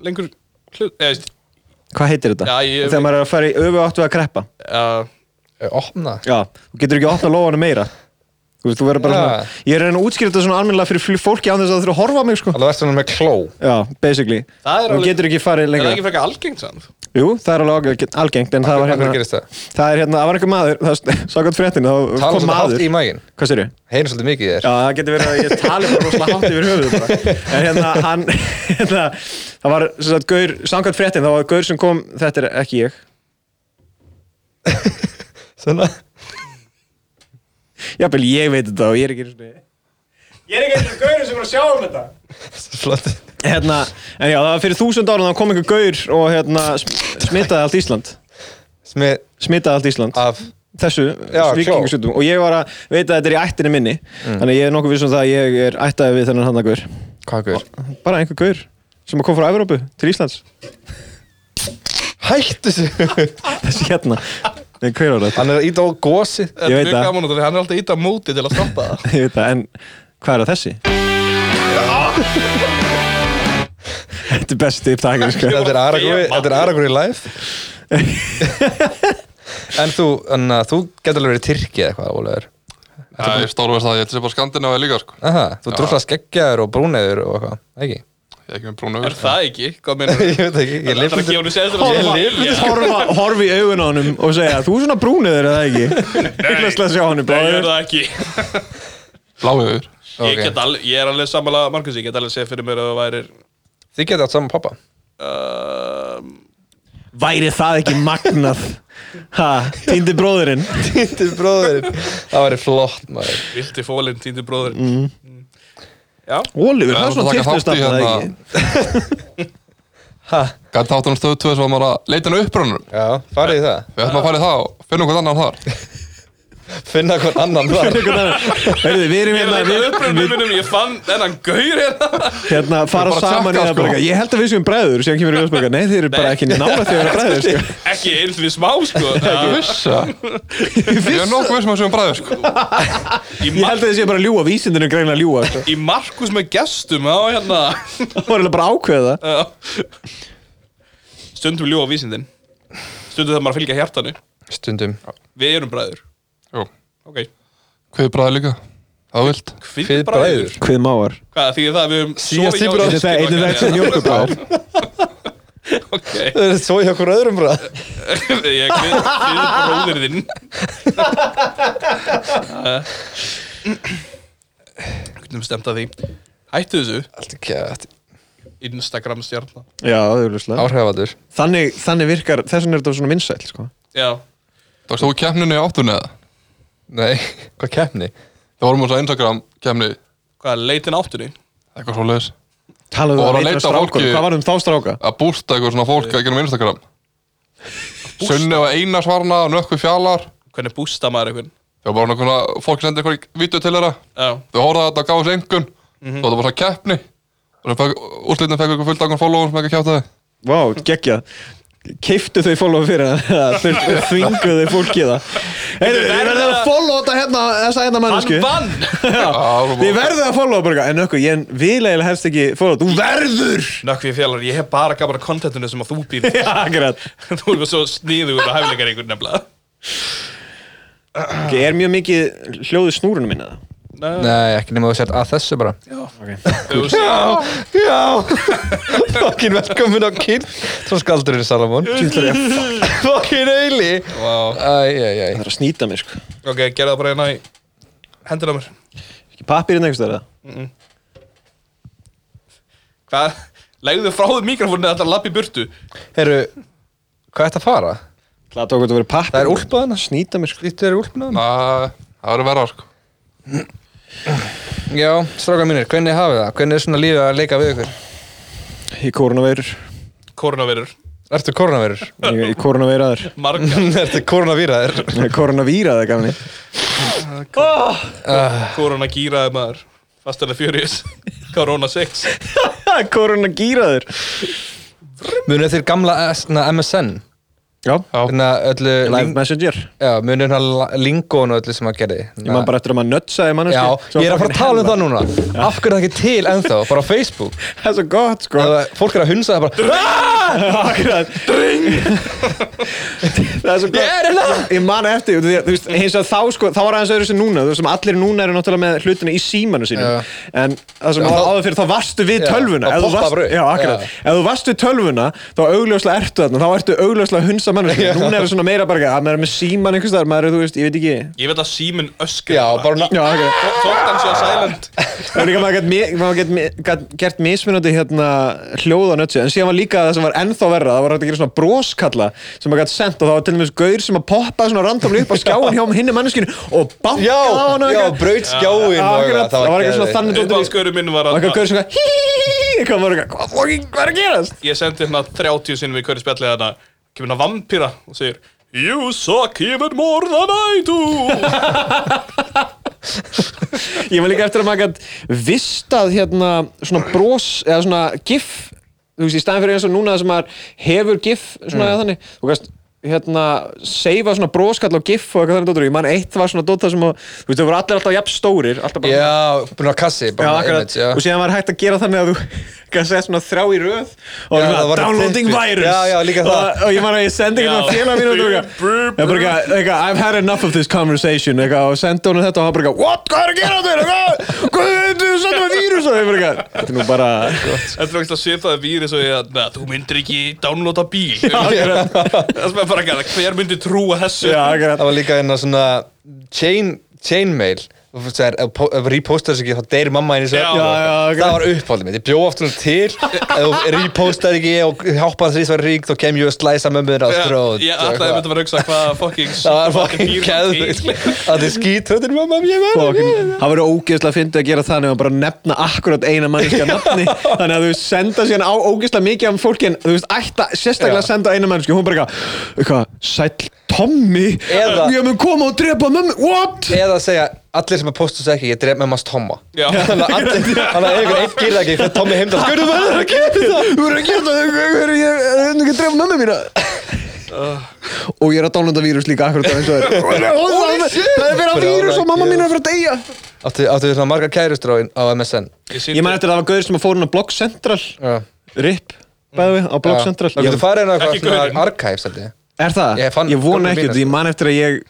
S2: lengur hlut, eða veist
S3: hvað heitir þetta?
S2: Já, ég-
S3: þegar maður er að fara í öfu áttu að kreppa
S2: uh,
S1: Eh, Opna
S3: Já, þú getur ekki að opna lófanum meira Þú veist, þú verður bara
S1: Já.
S3: svona Ég er að reyna að útskýra þetta svona almennilega fyrir fl- fólki án þess að það þurfa að horfa á mig, sko
S1: Það verður svona með kló
S3: Já, basically
S2: Það er
S3: Þú
S2: alveg-
S3: getur ekki farið
S2: Er það
S3: lengra
S2: ekki frekar algengt sann?
S3: Jú, það er alveg ágæ- algengt En það var
S1: Hvernig
S3: hérna
S1: gerist það?
S3: Það er hérna, það var einhver maður Það sagði gott fréttin Það
S1: Tala
S3: kom
S1: svona hátt
S3: maður
S1: í mægin
S3: Hvað sér ég?
S1: Heyrðu svolítið mikið í þér
S3: Já, það getur verið að ég tali bara rosalega hátt yfir höfuðu bara. En hérna, hann, hérna, það var, sem sagt, Gaur, samkvæmt fréttin, það var Gaur sem kom, þetta er ekki ég,
S1: Svona
S3: jafnvel ég veit þetta og ég er ekki einu sinni- Ég er ekki einu svona gaurið sem er að sjá um þetta
S1: Flott
S3: Hérna, en já, það var fyrir þúsund ára þá kom einhver gaur og hérna sm- smitaði allt Ísland
S1: Smið
S3: smitaði allt Ísland
S1: af
S3: þessu
S1: Já,
S3: svíkingasjútum og ég var að veita að þetta er í ættinni minni
S2: Mm.
S3: þannig að ég er nokkuð vissum það að ég er ættaði við þennan hann gaur
S1: Kakur
S3: bara einhver gaur sem kom frá Evrópu til Íslands
S1: Hættu sig
S3: þessi hérna en hver var þetta?
S1: Hann er að íta á gósið
S2: Þetta er
S3: veit
S2: mjög
S3: það.
S2: gaman út af því hann er alltaf ít af móti til að stoppa það
S3: ég veit það en hvað er það þessi? þetta er besti upptakir sko.
S1: Þetta er Aragorn- þetta er Aragorn í life En þú, en, þú getur alveg verið Tyrki eða eitthvað, Ólaður
S4: Það er stórverst að ég ætla sér bara skandinávið líka sko
S1: Aha, þú drullar skeggjaður og brúneður og eitthvað, ekki?
S4: Ég er ekki með brúnu
S2: Er það ekki? Hvað meinar
S1: Ég veit ekki, ég
S2: Það er
S1: lifði
S2: að gefa henni séðstur
S3: Ég
S2: að
S3: lifði
S2: segja
S3: horfa, horfa í augun á honum og segja þú er svona brúniður eða ekki Nei, sjá honum,
S2: Nei, ég er
S3: bróðir.
S2: það ekki Ég,
S4: Bláiður
S1: Ok.
S2: get alveg, ég er alveg sammála Markus, ég get alveg segja fyrir mér að það væri
S1: Þið getur átt saman pappa
S2: uh,
S3: væri það ekki magnað ha, týndi bróðurinn
S1: Týndi bróðurinn Það væri flott maður
S2: Vilti fólinn, týndi bróður mm. Já,
S3: Oliver, það er svona
S4: taka þátt í
S3: tiltustafn það ekki
S1: ha,
S4: Gæti þáttunum stöðu 2 sem var maður að leita henni upprunum
S1: Já, farið í það
S4: Við ætlum að fara í það og finna okkur annan þar
S1: Finna hvern annan þar
S3: Heyrðu, við erum
S2: ég
S3: hérna,
S2: er
S3: við,
S2: það uppröndum minnum Ég fann þennan gaur hérna
S3: hérna fara
S4: bara
S3: saman í það
S4: tjekka,
S3: bara
S4: sko.
S3: eitthvað, Ég held að við séum bræður, síðan kemur við ljósbaka Nei, þeir eru bara
S2: Nei.
S3: ekki nála því að vera bræður sko.
S2: Ekki eins og því smá sko
S4: Ég
S2: Já,
S4: vissi það Ég er nokkuð vissum að séum bræður sko
S2: Í,
S3: Ég
S2: ma
S3: held að þeir séu bara að ljúa, vísindinu er greinlega að ljúa sko.
S2: í Markus með gestum á hérna
S3: Það var eiginlega bara að ákveða það
S2: Já. Stundum ljóa vísindin Stundum það maður að fylgja hjartanu
S1: Stundum
S2: Við erum bræður
S4: Jú,
S2: Ok
S4: hvað er bræður líka? Það er vilt
S1: Þið bræður
S3: Hvið máar
S2: Hvað því það að við höfum
S1: Síðast í
S2: sofið hjá
S1: bræður.
S2: systkini
S3: Það er
S2: okkar,
S3: einu vekk sem
S2: já.
S3: mjölkubráð
S2: Ok
S1: Þau eru svo í okkur öðrum bræð
S2: Ég við, við bróðir þinn Hvernig stemt að því Hættu þessu
S1: Allt ekki að
S2: Instagram stjarnar
S3: Já, auðvitað
S1: Áhrifavaldur
S3: Þannig, þannig virkar, þess vegna er þetta svona vinsæl sko.
S2: Já,
S4: Tókst þú keppninu í áttunni eða?
S1: Nei, hvað keppni?
S4: Það vorum þess að Instagram keppni
S2: hvað er leitin áttunni?
S4: eitthvað svo leiðis
S3: Talaðu um
S4: Og voru að
S3: einna
S4: leita að
S3: strákur,
S4: fólki-
S3: hvað var um þá stráka?
S4: að bústa eitthvað svona fólk að gera Instagram Sunni og Einars varna og nökkvi fjalar
S2: Hvernig bústa maður einhvern?
S4: Það var bara nákvæmlega fólk sendi eitthvað vídeo til þeirra
S2: Já,
S4: Þau horfða þetta og gáðu þessu engun Svo þetta var svona keppni Og það úrslitna fekk eitthvað fullt angur followers með ekki kjáta þið
S3: Vá, geggjað Keiftu þau follow fyrir það Þau þvingu þau fólkið það Heyrðu, þið verðið að follow þetta hérna Þessa hérna
S2: hann
S3: mannesku
S2: vann
S3: Þið verðið að follow bara eitthvað, En okkur, ég viðlega helst ekki follow Þú verður
S2: Nökkvi fjallar, ég hef bara gaman að kontentinu sem að þú býr
S3: Já, Akkurat
S2: Þú erum svo sniður og hæfilegar einhvern nefnilega
S3: okay, Er mjög mikið hljóðu snúrunum minna það
S1: Nei, ekki nema þú sért að þessu bara
S2: Þú sé-
S1: Já Fokkin velkomin á kyn Svo skaldurinn Salamón
S3: Tjútlar, ég
S1: Fokkin eili
S2: Vá.
S1: Æj, æj, æj
S3: Það er að snýta mér sko
S2: Ok, gerðu það bara hérna í hendur á mér
S3: Ekki pappirinn einhvers þar
S2: Hvað? Legðu frá þau mikrofónu þetta lapp í burtu
S1: Herru, hvað er þetta að fara?
S3: Það tók að vera pappir
S1: Það er úlpa þarna.
S3: Snýta mér sko
S1: Lítið er úlpnaðan
S4: Það verður verða sko
S1: Já, strákar mínir, hvernig hafið það? Hvernig er svona lífið að leika við ykkur?
S3: Í koronaveirur
S2: Koronavirur
S1: Ertu koronavirur?
S3: Í, í koronaveiraður
S2: Marga
S1: Ertu koronavíraður?
S3: Koronavíraður, gafni
S1: Ah.
S2: Koronagýraði maður Fast and the Furious Corona 6
S3: Koronagíraður
S1: Munið þér gamla eh, svona MSN?
S3: Já,
S1: Þannig að Hérna, öllu
S3: live
S1: ling-
S3: messenger
S1: Já, munið hérna lingón og öllu sem að gerði
S3: Ég man bara eftir að maður nötsaði manneski
S1: Já, ég er að fara að tala um það núna Af hverju er það ekki til ennþá, bara á Facebook
S3: Það er svo gott sko
S1: Eða fólk er að hunsa það bara
S3: Akkurat Það er svo gott
S1: Ég er hérna!
S3: Ég man eftir, því, að, þú veist, hins að þá sko Þá var aðeins öðru sem núna, þú veist, sem allir núna eru náttúrulega með hlutina í símanu sínu
S1: Já.
S3: En það
S1: Já,
S3: sem var
S1: þá-
S3: áður fyrir, þá varstu við
S1: Já, þá
S3: tölvuna Ef þú
S1: poppar
S3: varst-
S1: bara upp.
S3: Já, akkurat
S1: Já.
S3: Ef þú varst við tölvuna, þá augljóslega ertu þarna Þá ertu augljóslega að hunsa manneski Núna er það svona meira bara, að maður er með síman einhvers þar Maður er, þú veist, ég veit ekki
S2: Ég veit að síminn öskri
S1: Já, bara
S3: Já, akkurat
S2: Tókt hann sé að silent
S3: Það var líka maður gætt mi- maður gætt mi- gætt gert mismunandi hérna hljóð á nötsi en síðan var líka það sem var ennþá verra það var hægt að gera svona broskalla sem maður gætt sendt og það var til dæmis gaur sem að poppa svona randomli upp á skjáin hjá hinni manneskinu og bankaði
S1: Já,
S3: á hana
S1: já, braut skjáin
S3: Já,
S1: og
S3: akkurat.
S1: eitthvað, það var
S3: Það var eitthvað svona
S1: geðveikt.
S3: þannig dóttir í-
S2: Uppáhaldsgaurin minn var
S3: og
S2: að
S3: eitthvað gaur sem eitthvað hí, hí, hí, hí, eitthvað var eitthvað, hvað fucking, hvað er að gerast?
S2: ég sendi hérna 30 sinnum í hverju spjallið þarna kemur hérna vampýra og segir You suck even more than I do
S3: Ég var líka eftir að maður gætt vistað hérna svona brós eða svona gif þú veist, í staðin fyrir eins og núna sem maður hefur gif svona eða þannig þú veist, hérna, seifa svona bróskall á gif og eitthvað þannig dóttur ég man eitt var svona dóttar sem að, þú veist, þau voru allir alltaf jafn stórir alltaf bara
S1: Já, búin að kassi,
S3: Já,
S1: bara með
S3: akkurat,
S1: image, já.
S3: og síðan var hægt að gera þannig að þú kannski sett svona þrá í röð
S1: Já,
S3: og já,
S1: það
S3: svona,
S1: var
S3: downloading
S1: klippið.
S3: virus
S1: Já, já, líka
S3: og,
S1: það.
S3: og ég man að ég sendi
S2: Já.
S3: eitthvað félag mínu og þú
S2: Brr, brr,
S3: eitthvað, eitthvað, eitthvað I've had enough of this conversation eitthvað, og sendi honum þetta og hann bara eitthvað What, hvað er að gera þér? Eitthvað, Hvað er þetta? Þú sendi maður vírus og ég bara eitthvað Þetta er nú bara
S2: Þetta er ekki að svipaði víri svo ég að "Nei, Þú myndir ekki downloada bíl Það sem er bara ekki að hver myndir trúa þessu
S3: Já, akkurat
S1: Það var líka einna svona chain, chainmail og þú segir, ef po- ef repostar þessu ekki þá deyri mamma henni svo
S2: Já.
S3: Já, já, ok.
S1: það var uppáldið mitt, ég bjóð oftur til ef þú repostar ekki og hoppar því svar rík þá kem ég að slæsa mömmuðin á þrótt
S2: Ég ætlaði að mynda að hugsa hvað fucking
S1: það var
S2: fucking
S1: fucking
S2: býr
S1: keðvikt
S2: til.
S1: það er skítröðin mamma ég verður
S3: Fucking- Það verður ógeðslega fyndið að gera þannig að bara nefna akkurat eina mannskja nafni þannig að þú veist, senda síðan á ógeðslega mikið um fólki en þú veist, ætta sérstaklega
S1: Já.
S3: að senda á eina mannskja, hún bara eitthvað, eitthvað sæll Tommy
S1: Eða-
S3: ég mun koma og drepa mömmu, what?
S1: eða að segja, allir sem að posta þessu ekki ég dref með maður Tomma
S2: Já.
S1: þannig að allir, þannig að einhver eitt gýrða ekki fyrir Tommi heimdal skurðu maður að gera þetta
S3: Þú verður að gera það, þú verður að ég er ekki að drefa mömmu mína og ég er að dálunda vírus líka akkurat eins og þér
S1: Holy shit!
S3: það er verið að vírus og mamma mín er að fara að deyja
S1: áttu áttu þið svona margar kærustráin á MSN
S2: Ég
S3: ég
S2: sýndi-
S3: man eftir að það var gauður sem að fór hún á Block Central
S1: Já.
S3: RIP, bæði við, á Block Central
S1: Það getur farið inn á
S2: Ekki
S1: eitthvað
S2: gaurinn.
S1: svona archives held ég.
S3: Er það?
S1: Ég
S3: Ég,
S1: fann-
S3: vona
S1: gömlu sko.
S3: ekki,
S1: mína,
S3: því ég man eftir að ég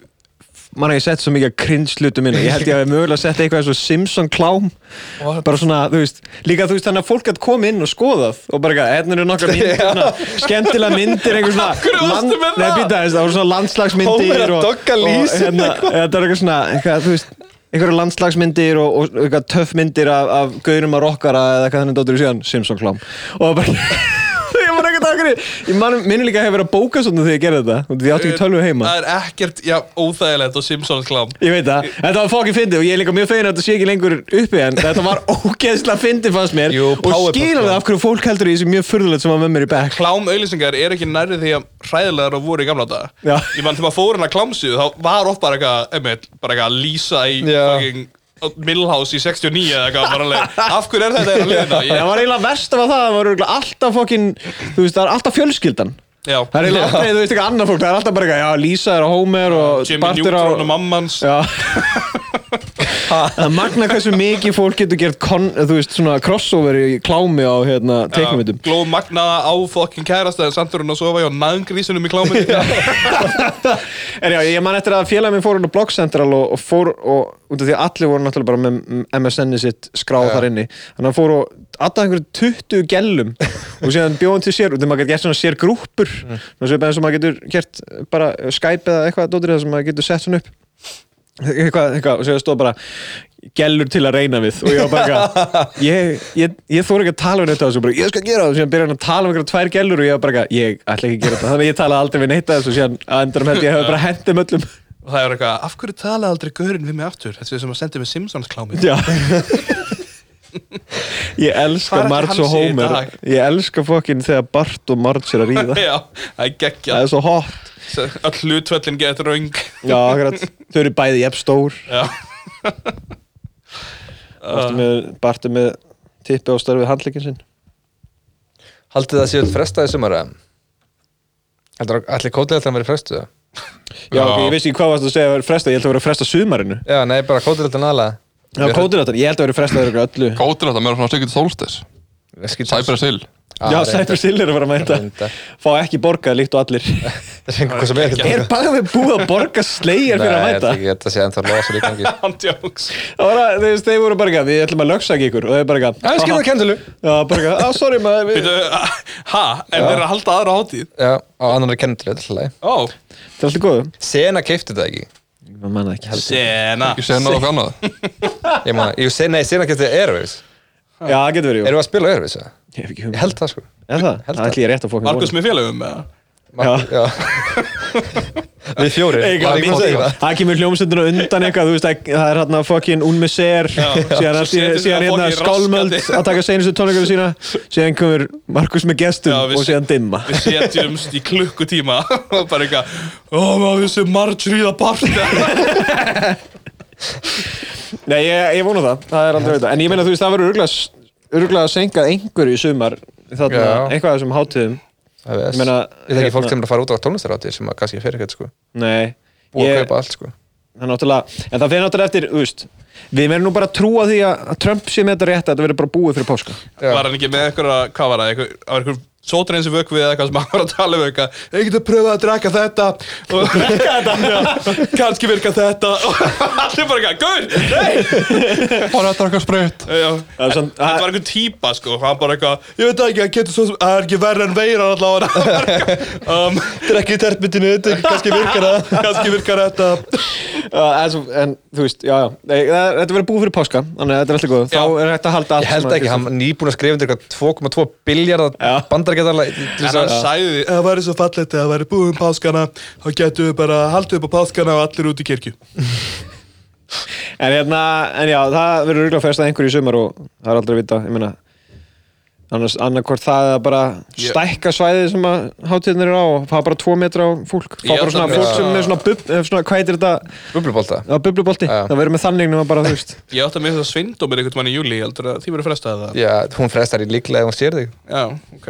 S3: man að ég sett svo mikið krinslutum minna ég held ég að við mögulega sett eitthvað eins og Simpson klám bara svona, þú veist líka þú veist þannig að fólk að koma inn og skoðað og bara eitthvað, hérna eru nokkar myndir svona, skemmtilega myndir, einhver
S2: Akkur varstu
S3: svona land-
S2: með
S3: Nei,
S2: það?
S3: býta þess, það voru svona
S1: Hómer
S3: landslagsmyndir
S1: að
S3: og,
S1: dogga
S3: og
S1: lýsin
S3: hérna, þetta er eitthvað svona eitthvað, þú veist, einhverju landslagsmyndir og, og eitthvað töffmyndir af, af gaurum að rockara eða eitthvað þannig dóttur í síðan Simpson klám og bara ég man ekkert okkur ég man, minni líka að hefur verið að bóka svona þegar ég gerði þetta út af því ég átti ekki tölvu heima
S2: Það er ekkert, já, óþægilegt og Simpsons klám
S3: ég veit það, þetta var fokkin fyndið og ég er líka mjög fegin að þetta sé ekki lengur uppi en þetta var ógeðslega fyndið fannst mér
S1: Jú,
S3: og
S1: powerpuff,
S3: skil alveg
S1: já.
S3: af hverju fólk heldur í þessu mjög furðulegt sem var með mér í back
S2: klám auðlýsingar er ekki nærri því að hræðilegar og voru í gamla daga
S3: Já.
S2: ég mann þegar maður fór hérna klámsið þá var oft bara eitthvað einmitt, bara eitthvað að lýsa í
S1: Já.
S2: fucking Millhouse í 69 eða eitthvað bara alveg af hverju er þetta eina liðina
S3: það
S2: ég,
S3: var eiginlega verst af að það, það var örugglega alltaf fokkin þú veist, það er alltaf fjölskyldan
S2: já,
S3: það er eiginlega aldrei, þú veist ekki annað fólk það er alltaf bara eitthvað, já, Lisa er á Homer og
S2: Jimmy
S3: Bartur á
S2: Neutron og mammans
S3: Já Það er magna hversu mikið fólk getur gert kon, þú veist, svona crossover í klámi á hérna, teiknumitum
S2: Gló magnaða á fucking kærasta en samt er hún að sofa hjá næðingrísinum í kláminu
S3: En já, ég man eftir að félagin minn fór inn á Blog Central og, og fór og út af því að allir voru náttúrulega bara með MSN-i sitt skráð þar inni Þannig að hann fór og alltaf einhverju 20 gellum og síðan bjóð hann til sér og þegar maður getur gert svona sér grúppur mm. svipað eins og maður getur gert bara Skype eða eitthvað dótrið þar sem maður getur sett svona upp eitthvað, eitthvað, og sér stóð bara gellur til að reyna við og ég var bara eitthvað ég, ég, ég þóra ekki að tala við neitt af þessu bara, ég skal gera það, og síðan byrja hann að tala um einhverja tvær gellur og ég var bara eitthvað, ég ætla ekki að gera það þannig að ég tala aldrei við neitt af þessu og síðan að endurum held ég hefði bara hendum öllum
S2: og það er eitthvað af hverju tala aldrei gaurinn við mig aftur þetta er sem að senda mig Simpsons klámið
S3: Já Ég
S2: Hvað
S3: elska
S2: er þetta
S3: Marge og
S2: hann sé í
S3: Homer
S2: dag?
S3: Ég elska fokkin þegar Bart og Marge er að ríða
S2: já, það er
S3: Það
S2: geggjað
S3: er svo hot
S2: all hlutvöllin getur raung
S3: Já, akkurat, þau eru bæði jefn stór
S2: já,
S3: Bart er með, Bart er með tippi á starfið handleikin sinn
S1: Haldið það séu frestað í sumara? Heldur það allir kótilega þannig að vera frestuð það?
S3: Já,
S4: Já.
S3: ok, ég vissi ekki hvað varst að segja að vera fresta, ég held að vera fresta sumarinu
S1: Já, nei, bara kótilega þannig aðlega
S3: Já, kóturáttan, ég held að vera fresta öðru öllu
S4: Kótir þetta, mér er svona sikkert solstis Cyber Sil
S3: Já,
S1: Ah,
S3: Cyber Sill er að vera að mæta
S1: Reyndar.
S3: Fá ekki borgað líkt og allir
S1: Það er einhver hvað sem er ekki
S3: Er bara við búið að borga sleigjar fyrir að mæta?
S1: Nei, þetta sé ennþá losa líka ekki
S2: hann djóks
S3: Það var að, þeir, þeir voru bara ekki, við ætlum að lögsa ekki ykkur og þeir bara ekki
S1: Já, við skilum það kendulu
S3: Já, bara ekki, ah, sorry maður við-
S2: Bíddu, ha, en þeir eru að halda aðra hátíð
S1: Já, á annan er kendulu, þetta er hlæg
S2: Ó,
S3: Það er alltaf góðu
S1: Sena keipti þetta ekki
S3: Ég manna ekki
S2: sena
S4: Ekki segja náðu hvað annað
S1: Ég man, jú, se- nei, Sena keipti Airways
S3: Já, það getur verið, jú
S1: Erum við að spila Airways? eða?
S3: Ég hef ekki
S1: Ég
S3: hugmynd
S1: held það sko
S3: Er það?
S1: held
S3: Það
S1: að-
S3: ætlum ég rétt að fókna
S2: Markus með félögum eða?
S1: Mark- Já Við fjórir Var
S3: Ég
S1: ég
S3: gat ekki
S1: búinn að segja það?
S3: Það kemur hljómsundinu undan eitthvað, þú veist, það það er hérna fucking unmisér, síðan, allt í-
S2: Setur það
S3: síðan hérna
S2: fucking
S3: skálmöld
S2: raskandi.
S3: að taka seinustu tónleikana sína, síðan kemur Markus með gestum
S2: Já, við
S3: og
S2: se-
S3: síðan dimma.
S2: við setjumst í klukkutíma og bara eitthvað ó maður þessi Marjorie að parta
S3: Nei, ég, ég vona það, það er aldrei veit En ég meina, þú veist, það verður örugglega- örugglega að senka einhverju í sumar þarna,
S1: Já.
S3: eitthvað af þessum hátíðum
S1: Það
S3: Ég meina,
S1: er ekki fólk
S3: hérna-
S1: sem er að fara út á tónlistaráttir sem að kannski fer ekkert sko
S3: Nei,
S1: Búið að
S3: ég,
S1: kaupa allt sko
S3: það er náttúrulega En það fyrir náttúrulega eftir, þú veist Við verðum nú bara að trúa því að að Trump sé með þetta rétt að þetta verður bara búið fyrir páska
S2: var hann ekki með eitthvað hvað var það, eitthvað, það var eitthvað sótreins í vökvið eða eitthvað sem hann var að tala um eitthvað ég get að pröfa að draka þetta og drekka þetta, já, kannski virka þetta og allir bara eitthvað, gaur nei,
S4: Bara að drakka sprit
S2: já,
S3: Það er samt-
S2: þetta var einhver típa sko og hann bara eitthvað, ég veit það ekki, hann getur svo sem- það er ekki verra en veira allavega um,
S1: Drekki í tertbytinu, kannski virkar það
S2: kannski virkar þetta
S3: Uh, en, svo- en þú veist, já, já Nei, það er- Þetta verður búið fyrir páska, þannig að þetta er alltaf góð Þá
S2: Já.
S3: er hægt að halda allt
S1: Ég held
S3: sem að-
S1: ekki, hann er nýbúinn að skrifa undir eitthvað 2,2 biljarða
S3: Já.
S1: bandarækjadala
S2: En hann sagði því, ef það væri svo fallegt eða það væri búið um páskana þá getum við bara haldið upp á páskana og allir út í kirkju
S3: En hérna, en já, það verður örgulega festað einhverju í sumar og það er aldrei að vita, ég meina annars annarkvort það eða bara stækka svæðið sem að hátíðnir eru á og fá bara tvo metra á fólk fá
S2: Ég
S3: bara
S2: ætla
S3: svona
S2: að-
S3: fólk sem er svona, bub, eh, svona hvað heitir þetta,
S1: Bublubólta
S3: á bublubolti
S1: Já.
S3: það verður með þannig nema bara, þú veist
S2: Ég átti að með þess að svindómir einhvern mann í júli, ég heldur að því verið frestað það
S1: Já, hún frestar í líklega ef hún sér þig
S2: Já, ok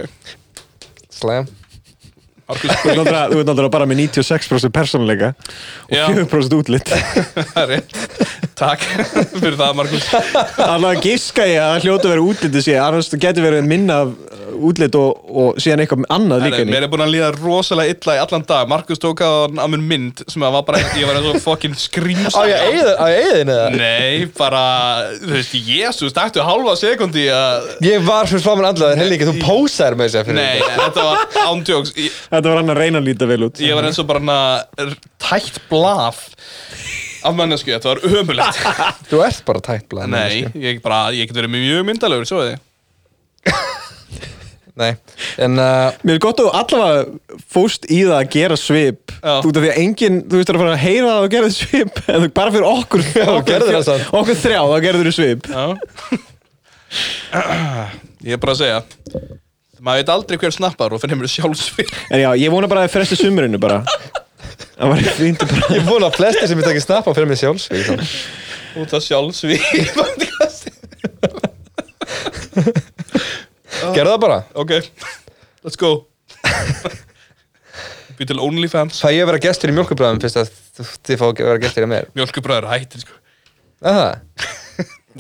S1: Slæm
S2: Markus,
S3: þú ert náttúrulega- þú ert náttúrulega bara með 96% persónuleika og
S2: Já.
S3: 4% útlitt
S2: það er rétt Takk fyrir það, Markus
S3: allavega giska ég að það hljótu að vera útlitið sé annars getur verið minna af útlitt og, og síðan eitthvað annað líka inn í.
S2: Mér er búin að líða rosalega illa í allan dag Markus tók að hann að mun mynd sem að var bara, ég var eins og fucking skrýms
S1: Á ég eigðin eða?
S2: Nei, bara, þú veist, jésus, taktu hálfa sekundi að
S1: Ég var fyrir framann andlaður, helgi, þú pósaðir með þessi
S2: Nei, þetta var ándjóks Ég,
S3: þetta var hann að reyna að líta vel út
S2: ég var eins og bara hana tætt blaf af mannesku, þetta var ömulegt
S1: Þú ert bara tætt blæð
S2: Nei, ég, bara, ég get verið mjög myndalegur, svo þið
S1: Nei, en uh,
S3: Mér er gott að þú allavega fóst í það að gera svip
S2: Já.
S3: Þú út af því að enginn, þú veist, er að fara að heyra það og gera svip En þú bara fyrir okkur, okkur,
S1: gerðir það
S3: þrjá,
S1: samt.
S3: okkur þrjá, þá gerður þú svip
S2: Já Ég er bara að segja maður veit aldrei hver snappar og finnir mér sjálfsvið
S3: En já, ég vona bara að þið fresti sumurinu bara Það var fínt að bara
S1: ég vona að flestir sem ég tekið snappa fyrir mig sjálfsvík þá.
S2: út af sjálfsvið
S1: Gerðu það bara
S2: Ok, let's go Být til OnlyFans
S1: Fæ ég að vera gestur í mjölkubræðum fyrst að þið fá að vera gestur í mér
S2: Mjölkubræður hættir sko
S1: Er það?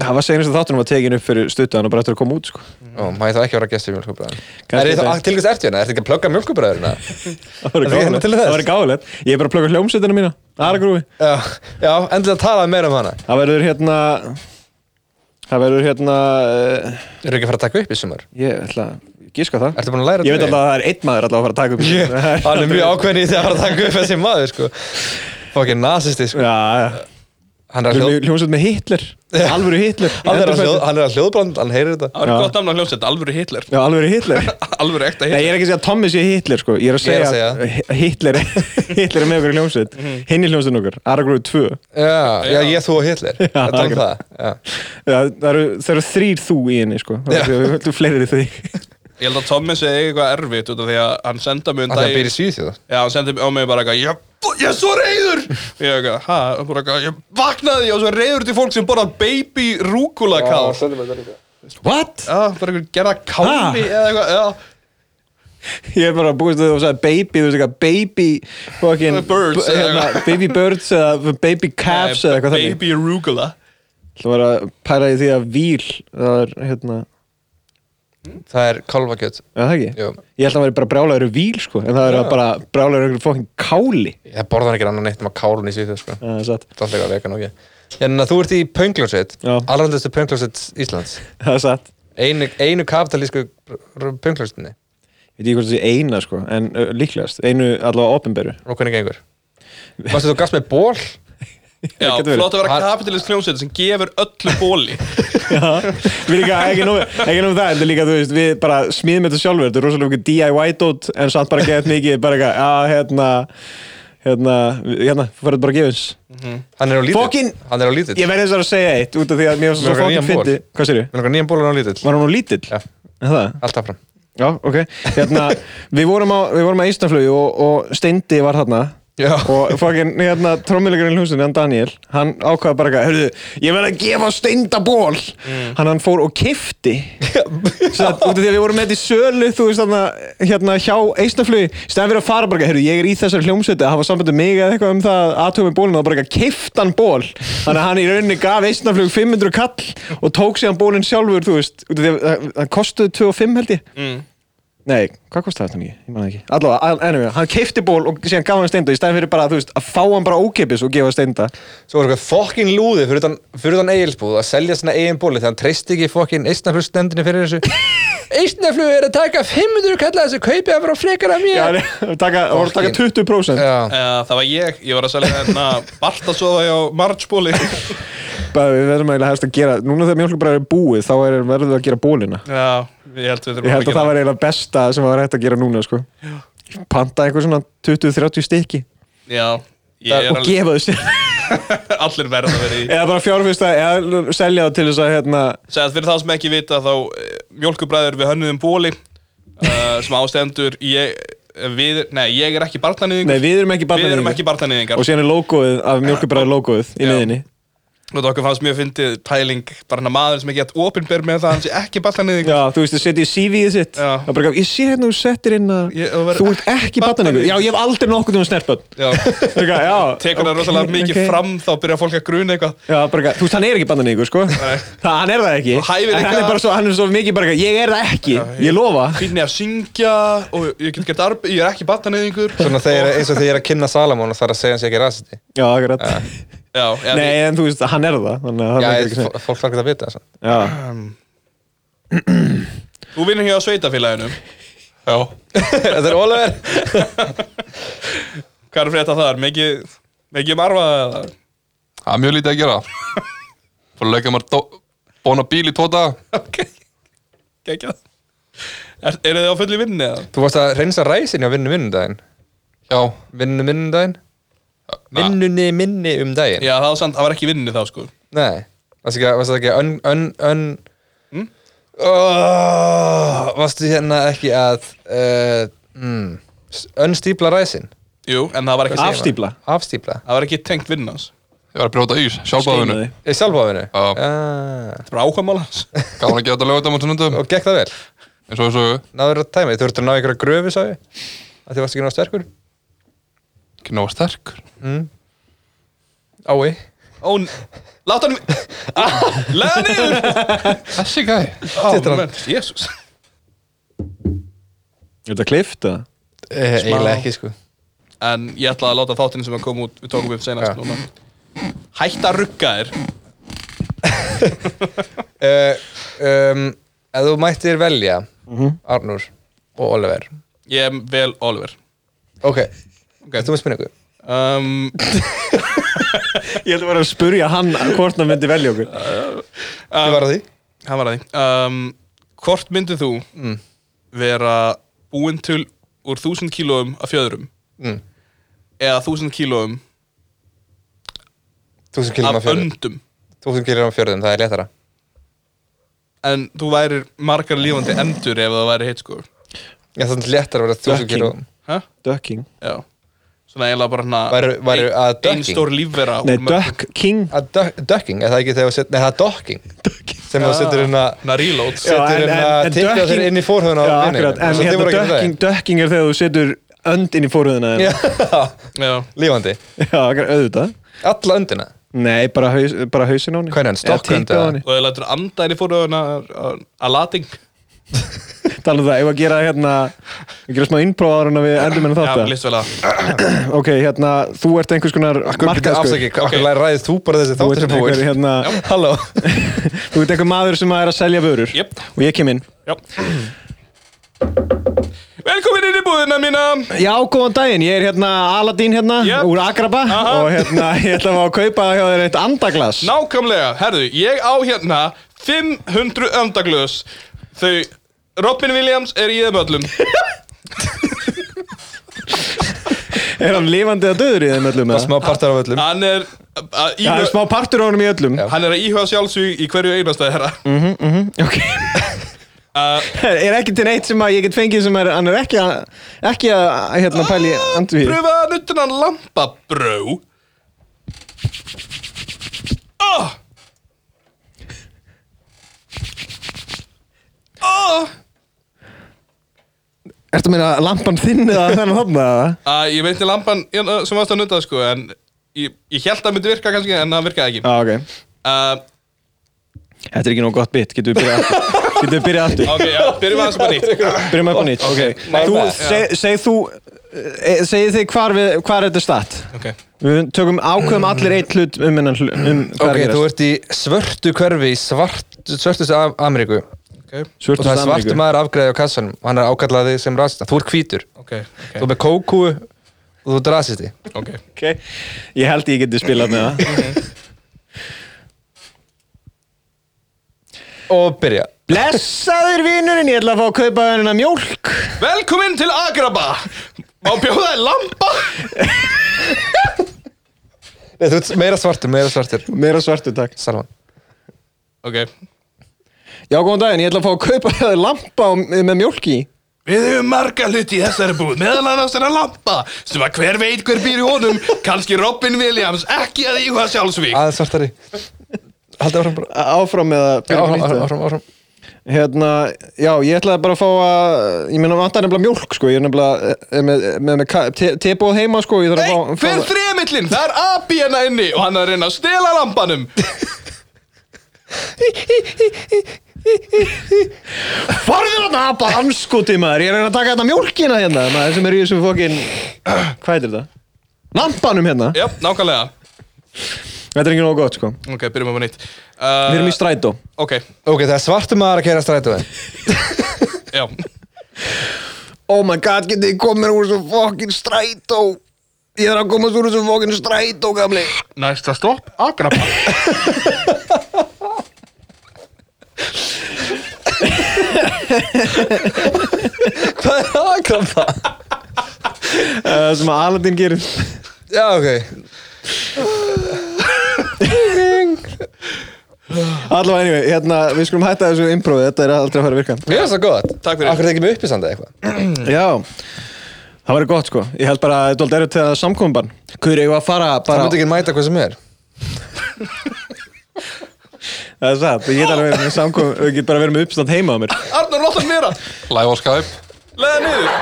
S3: Það var segjum þess að þáttunum var tekin upp fyrir stuttan og bara eftir að koma út, sko
S1: Ó, má ég þá ekki vera gestur í mjölkubræðum
S3: Kannski
S1: Er ég þá
S3: þetta-
S1: til þess ertu hérna? Ertu ekki að plugga mjölkubræðurina?
S3: Það
S1: Það
S3: var
S1: er
S3: gáðilegt,
S1: til þess.
S3: það var gáðilegt Ég er bara að plugga hljómsveitina mína, Aragrúi
S1: já, já, endilega talað meira um hana
S3: Það verður hérna Það verður hérna eh,
S1: Eru ekki að fara að taka upp í sumar?
S3: Ég ætla að giska það
S1: Ertu búin að læra
S3: Ég veit alltaf
S1: þetta?
S3: að það er einn maður alltaf að fara að taka upp í- Það er-
S1: Hann er mjög ákveðin í því að fara að taka upp þessi maður sko Fokkin nazisti sko
S3: Já, já
S1: Hann er að hljóð-
S3: Hljómsveit með Hitler Alvöru Hitler
S1: hann er að hljóð- hann er að hljóðbrand, hann heyrir þetta
S2: Það var
S3: Já.
S2: gott namn að hljómsett, alvöru Hitler
S3: Já, alvöru Hitler
S2: Alvöru ekta
S3: Nei, ég
S2: Hitler
S3: er ekki að segja að Tommy sé Hitler sko Ég er að
S1: Ég er
S3: segja,
S1: að
S3: að Hi- Hitler, Hitler er með okkur í hljómsveit
S1: Mhm.
S3: Hinn í hljómsveitin okkur Aragrói 2
S1: Já, já, ég þú og Hitler Þetta er um
S3: akkurat.
S1: það já.
S3: Það það eru, það eru þrýr þú í henni sko Það
S1: Já.
S3: eru- Við höldum fleiri í því
S2: Ég held að Tommi segi eitthvað erfitt út af því að hann senda mig um
S1: Hann er að
S2: daginn
S1: byrja í Svíþjóð
S2: Já, hann sendi á mig bara eitthvað Ég, ég er svo reyður Ég er eitthvað, hæ, bara eitthvað Ég vaknaði, ég var svo reyður til fólk sem borðað baby rúkula kál Já,
S3: What?
S2: bara eitthvað gerða káli eða eitthvað Já,
S3: Ég er bara að búist að þú sagði baby Þú veist eitthvað baby fucking,
S2: Uh, Birds,
S3: b- hérna,
S2: eða-
S3: Baby birds eða baby calves eða eitthvað þannig
S2: Baby rúkula
S3: Það var að pæra í því að víl Það er hérna
S1: Það er kálfakjöt
S3: Já, það ekki?
S1: Jú.
S3: Ég held að hann væri bara brjálæður í víl, sko, en það eru bara brjálæður einhverjum fokkin káli.
S1: Ég borða hann ekki annan neitt um að kálun í Svíþjóð sko.
S3: Já, Það er satt.
S1: Það er alltaf eitthvað vegan og ekki En þú ert í pöngljónsveit
S3: Já.
S1: Alrandastu pöngljónsveit Íslands
S3: Það er satt.
S1: Einu, einu kapitalísku pöngljónsveitinni
S3: Ég veit ekki hvort það sé eina, sko, en uh, líklegast. Einu allavega opinberu.
S1: Og hvernig gengur Varstu þú gafst með ból?
S2: Já,
S3: getur verið.
S2: flott að vera
S1: Hann-
S2: kapitalist hljómsveit sem gefur öllu bóli
S3: Við líka, ekki nóg ekki nóg með það, en líka, þú veist, við bara smíðum þetta sjálfur, þetta er rosalega mikið DIY-dót, en samt bara geðt mikið, bara eitthvað, að, hérna, hérna, hérna, þú fyrir bara að gefa eins.
S1: Hann er á lítill
S3: Fokkin-
S1: Hann er á lítill
S3: Ég verði þess að segja eitt, út af því að mér finnst
S1: Mér langar
S3: svo fokkin
S1: nýjan ból.
S3: fyndi. Hvað sér ég?
S1: Mér langar nýjan bólun á lítill
S3: Var hann nú lítill?
S1: Já,
S3: Er Það?
S1: allt áfram
S3: Já, ok. Hérna, við vorum á, við vorum á Íslandflögu og, og Steindi var þarna.
S1: Já.
S3: Og fokkin, hérna, trommilegurinn í hljómsunni, hann Daniel, hann ákvaði bara eitthvað, hörðu, ég verði að gefa Steinda ból. Hann, hann fór og kifti Satt, út af því að við vorum með þetta í sölu þú veist þarna, hérna hjá Eistnaflögi stæðan fyrir að fara bara, eitthvað, heyrðu, ég er í þessari hljómsveiti að hafa sambandi mig eða eitthvað um það aðtöfum bólinu og bara eitthvað kiftan ból þannig að hann í rauninni gaf Eistnaflögi 500 kall og tók síðan bólinn sjálfur þú veist, út af því að það- það kostuði 25 held ég nei, hvað kostuði þetta mikið, ég man það ekki allavega, ennum, hann kifti ból og síðan gaf hann steinda í stæðan fyrir bara, þú veist, að fá hann bara ókeppis og gefa steinda
S1: Svo var eitthvað fokkin lúði fyrir utan, fyrir utan eigilsbúð að selja sinna eigin bóli þegar hann treysti ekki fokkin eistnaflug stendinni fyrir þessu Eistnaflug er að taka 500 kalla þessu kaupið að vera frekar af
S3: Já,
S1: mér
S3: nei, taka, það voru að taka 20%
S1: Já,
S2: uh, Það var ég, ég var að selja hérna Bartasofa hjá Marchbóli
S3: bara, við verðum eiginlega helst að gera núna þegar mjölkubræður er búið þá er, verðum við að gera bólina
S2: Já, ég held við þurfum
S3: ég held að
S2: gera
S3: það var eiginlega besta sem var hægt að gera núna sko. panta eitthvað svona 20-30 stykki
S2: Já, ég er
S3: og
S2: alveg,
S3: gefa þessi
S2: allir verð að vera í
S3: eða bara fjárfyrsta, eða selja það til þess að hérna,
S2: Segð fyrir það sem ekki vita þá eh, Mjólkubræður við hönnuðum bóli uh, sem ástendur ég, við, Nei, ég er ekki
S3: nei
S2: barnanýðingur
S3: við erum ekki
S2: Við erum
S3: barnanýðingar
S2: ekki barnanýðingar
S3: og síðan er logoið af mjölkubræður logoið í
S2: Já.
S3: miðinni
S2: Og okkur fannst mjög fyndið pæling bara hann maður sem ekki hægt opinber með það hann sé ekki barnanýðingur
S3: Já, þú veist, þú setjið CV-ið sitt
S2: Já.
S3: Það er bara, gaf, Ég sé hérna, þú settir inn að
S2: Ég- þú verður
S3: Þú ert ekki barnanýðingur Já, ég hef aldrei nokkuð um snertbönn
S2: Já, tekur það rosalega mikið fram þá byrja fólk að gruna eitthvað
S3: Já, bara, eitthvað, þú veist, hann er ekki bandaníkur, sko Það, hann er það ekki
S2: Og hæfir
S3: En
S2: eitthvað.
S3: Hann er bara svo, hann er svo mikið bara, eitthvað, ég er það ekki, ég lofa
S2: Fínni að syngja og ég get gert arb ég er ekki barnanýðingur
S1: svona þegar, eins og þegar ég er að kynna Salamón og það er að segja hans ekki rasisti
S3: Já, akkurat
S2: Já, já,
S3: Nei, en þú veist, hann er það Þannig að það
S1: Já,
S3: er
S1: ég,
S3: ekki sem
S1: fó- fólk þarf ekki að vita þess
S3: Já,
S2: Þú vinnur hjá sveitafélaginu
S4: Já.
S1: Þetta er Ólafur
S2: Hvað er frétt að það er? Mikið, mikið marfa eða?
S4: Það er mjög lítið að gera. Fór að leika maður dó- bóna bíl í tvo daga.
S2: Ok, gekkja er, Eru þið á fullu vinnu eða?
S1: Þú varst að reynsa ræsin hjá vinnu vinnudaginn
S4: Já.
S1: Vinnu minnudaginn
S4: Na,
S1: Vinnunni minni um daginn
S2: Já, það var, sant, það var ekki vinnu þá sko
S1: Nei, varst ekki, varst ekki ön, ön, ön oh, Varstu hérna ekki að uh, mm, s- Önstípla ræsin
S2: Jú, en það var ekki
S3: afstípla
S1: Afstípla
S2: Það var ekki tengt vinnu hans
S4: Ég var að brjóta ís, sjálfbáðinu.
S3: Steinaði.
S1: Í sjálfáfinu
S4: Já.
S1: ah,
S2: Það var ákvæmála hans
S4: Gaf hann að gera þetta lögutum og sunnundum.
S1: Og gekk það vel
S4: Eins og ég sögu.
S1: Náður að tæmi, þú ertu að ná einhverja gröfu sagði að Því varstu ekki ná sterkur
S4: Ekki náða sterkur.
S1: Ái
S2: Ó, n- láta hann ah, Lega niður
S4: Þessi gæ.
S1: Titrar hann.
S2: menn, Jésús
S3: Er þetta klift, eða?
S1: Eh, Eiginlega ekki sko
S2: En ég ætla að láta þáttinn sem að koma út Við tókum upp senast núna Hætta að rugga þér
S1: uh, um, Ef þú mættir velja Mhm. Arnur og Oliver
S2: Ég er vel Oliver
S1: Ok, okay. þú með spurningu
S2: um,
S3: Ég held að vera að spurja hann hvort hann myndi velja okkur
S1: Ég var að því
S2: Það var að því um, Hvort myndið þú
S1: Mm.
S2: vera búinn til úr 1000 kílóum af fjöðrum
S1: Mm.
S2: eða 1000 kílóum
S1: Þúsund kilum af
S2: af
S1: fjörðum
S2: öndum
S1: Þúsund kilum af fjörðum, það er léttara
S2: en þú værir margar lífandi endur ef það væri hitt sko
S1: Já, það er léttara að vera þúsund
S3: Ducking.
S1: kilum
S2: Hæ?
S3: Ducking
S2: Já Svona eiginlega bara hana
S1: Væru- væru að
S2: Einn
S1: ducking?
S2: stór lífvera úr
S3: Nei,
S2: mörgum-
S3: duck king
S1: Að Ah, duck- Ducking, er það ekki þegar þú set- Nei, það er docking Sem þú setur hérna
S2: Hana reload
S1: Já. setur hérna tyggja þér inn í forhöfðina á
S3: Já,
S1: vininum.
S3: akkurat
S1: Svo
S3: En
S1: þið voru ekki
S3: hérna
S1: með það.
S3: ducking, ducking er þegar þú setur önd inn í fórhugðina Já,
S2: Já
S1: Lífandi
S3: akkurat, auðvitað
S1: Alla öndina
S3: Nei, bara, haus, bara hausin á henni
S1: Hvernig, stokkund eða?
S3: Eða tíka á henni
S2: Og þau lætur andæri fórhauðuna að lating
S3: Talum það, ég var að gera hérna Við gera smá innpróf ára en við endum henni
S2: Já,
S3: þátt
S2: lýst vel að
S3: Ok, hérna, þú ert einhvers konar markaðskur
S1: Afsaki, okkur læri ræðið þú bara þessi
S3: Þú
S1: þáttur
S3: ert
S1: er
S3: einhver,
S1: búinn
S3: hérna
S1: Halló
S3: Þú ert einhver maður sem er að selja vörur
S2: Jöp
S3: Og ég kem inn
S2: Jöp Velkomin inn í búðina mína
S3: Já, góðan daginn, ég er hérna Aladín hérna
S2: Yep.
S3: úr Agraba
S2: Aha.
S3: og hérna ég ætla að fá að kaupa hjá þér eitt andaglas
S2: Nákvæmlega, herðu, ég á hérna 500 öndaglöðs Þau, Robin Williams er í þeim öllum
S3: Er hann lifandi að döður í þeim öllum? eða?
S1: smá partar af öllum
S2: Hann er að
S3: Já, það er
S2: íhuga
S3: smá partur á honum í öllum
S2: Hann er að íhuga sjálfsvík í hverju einasta þeirra
S3: Mm. Ok Er ekki til neitt sem að ég get fengið sem er, hann er ekki að, ekki að hérna pæli andvíð
S2: Pröfa að nutta hann lampabró Oh! Oh!
S3: Ertu að meina lampan þinn eða þennan hopna?
S2: að ég meinti lampan hérna, sem varst að nutta sko en ég, ég held að myndi virka kannski en það virkaði ekki
S3: Já, ok
S2: uh,
S3: Þetta er ekki nóg gott bit, getum við byrjað aftur Getum við byrjað aftur
S2: ok, já, byrjum aðeins bara nýtt
S3: Byrjum upp á nýtt
S2: Ok, my
S3: Þú,
S2: bad.
S3: seg, seg þú, eh, segið þig hvar, við, hvar þetta er statt
S2: ok,
S3: Við tökum ákveðum allir eitt hlut um innan hlut um
S1: Ok,
S3: hvað er að
S1: þú
S3: gerast.
S1: ert í svörtu hverfi í svart, svörtustu af Ameríku og
S2: ok,
S3: Svörtu
S1: það er
S3: Ameríku.
S1: svartu maður afgræði á kassanum og hann er ákallaði sem rasista, þú ert hvítur
S2: ok,
S1: þú ert með kókú og þú ert rasisti
S2: ok
S3: okay. Ég held ég geti spilað með það
S1: og byrja
S3: Blessaður vinurinn, ég ætla að fá að kaupa hennar mjólk
S2: velkomin til Agraba má bjóða þér lampa
S1: Nei, þú ert meira svartur, meira svartur
S3: Meira svartu, takk
S1: Salman
S2: ok,
S3: Já, góðan daginn, ég ætla að fá að kaupa hennar lampa og- með mjólk í
S2: við höfum marga hluti í þessari búð meðal annars þennan lampa sem að hver veit hver býr í honum kannski Robin Williams, ekki að íhuga sjálfsvík
S3: Ah,
S1: aðeins svartari haldið áfram bara
S3: Áfram með að byrja
S1: áfram,
S3: nýtt
S1: áfram,
S3: eða?
S1: áfram, áfram.
S3: Hérna, já, ég ætlaði bara að fá að Ég meina, vantar nefnilega mjólk, sko Ég er nefnilega eh, með, með, með tebóð heima, sko Ég þarf
S2: Nei,
S3: að fá,
S2: fyrir
S3: fá
S2: þremillin, það er abi hérna inni og hann er að reyna að stela lampanum
S3: Farðu þarna, bara anskoti, maður Ég er að reyna að taka þetta mjólkina hérna, maður Sem er í þessu fókin Hvað heitir þetta? Lampanum hérna
S2: Já, nákvæmlega
S3: Þetta er ekki nógu gott sko
S2: Ok, byrjum að vera nýtt
S3: Við erum
S2: uh,
S3: í strætó
S2: Ok,
S1: ok, það er svartur maður að kæra strætóin
S2: já
S3: Oh my god, getið þið komið úr þessu fokkin strætó Ég þarf að komast úr þessu fokkin strætó, gamli
S2: Næsta stopp, Agrapa
S1: hvað er aðkrampa?
S3: Eh, Það sem að Aladdin gerir
S1: já, ok
S3: Allavega, anyway, hérna, við skulum hætta þessu improvi Þetta er aldrei að fara að virka
S1: mér finnst það gott
S2: Takk fyrir.
S1: akkur tekið mig upp í sanda eitthvað
S3: Já Það væri gott sko Ég held bara að þetta er til að samkomban Hver eigum við að fara
S1: það
S3: bara
S1: myndi ekki mæta hvað sem er
S3: Það er satt, ég get alveg verið með samkom Ég get bara verið með uppstand heima á mér
S2: Arnar, láta hann vera
S4: Live á Skype
S2: Leða niður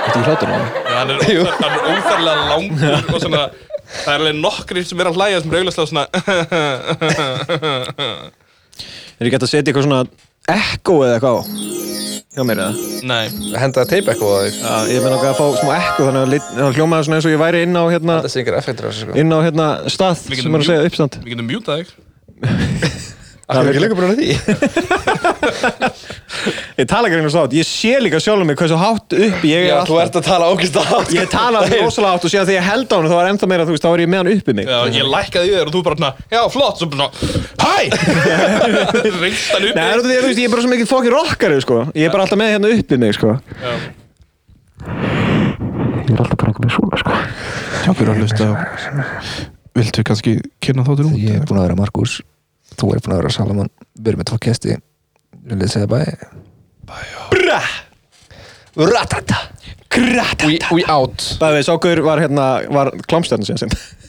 S3: Þetta er hlátur hann
S2: Já, hann er, óþar, hann er óþarlega langur og svona Það er alveg nokkrir sem er að hlæja sem er auðvitað svona
S3: Er ég gett að setja eitthvað svona Echo eða eitthvað á Hjá mér eða
S2: Nei,
S1: henda teip eitthvað á þig
S3: Já, ég með nokkað að fá smá ekko þannig að lit- það hljómaði svona eins og ég væri inn á hérna,
S1: það sé ykkur effektur á þessu sko
S3: inn á hérna stað
S2: Við
S3: sem
S2: getum
S3: er að segja uppstand.
S2: við getum mjútað þig
S1: akkur er ekki lengur búin að því
S3: Ég tala ekki einu státt, ég sé líka sjálf mig hversu hátt uppi ég er
S1: já,
S3: alltaf.
S1: þú ert að tala ógist að
S3: Ég tala alveg rosalega hátt og síðan þegar ég held á hann þá var ennþá meira, þú veist, þá var ég með hann uppi mig.
S2: Já, ég lækkaði í þér og þú bara svona Já, flott, svo bara svona Hæ! Reyndst hann
S3: Nei, það
S2: upp
S3: er út af því að þú veist, ég er bara svo mikið fokkin rockari, sko. Ég er bara alltaf með hérna uppi mig, sko.
S2: Já.
S3: Ég er alltaf bara eitthvað með svona, sko.
S5: Takk fyrir að hlusta Viltu kannski kynna þá til út?
S1: ég er búin að vera Markus þú er búin að vera Salman við erum með tvo kesti vil ég segja bæ
S3: Bra!
S1: ratata
S3: Gratata!
S4: We, we out
S3: Það veist, ákveður var hérna, var klámstjarni síðan sinn.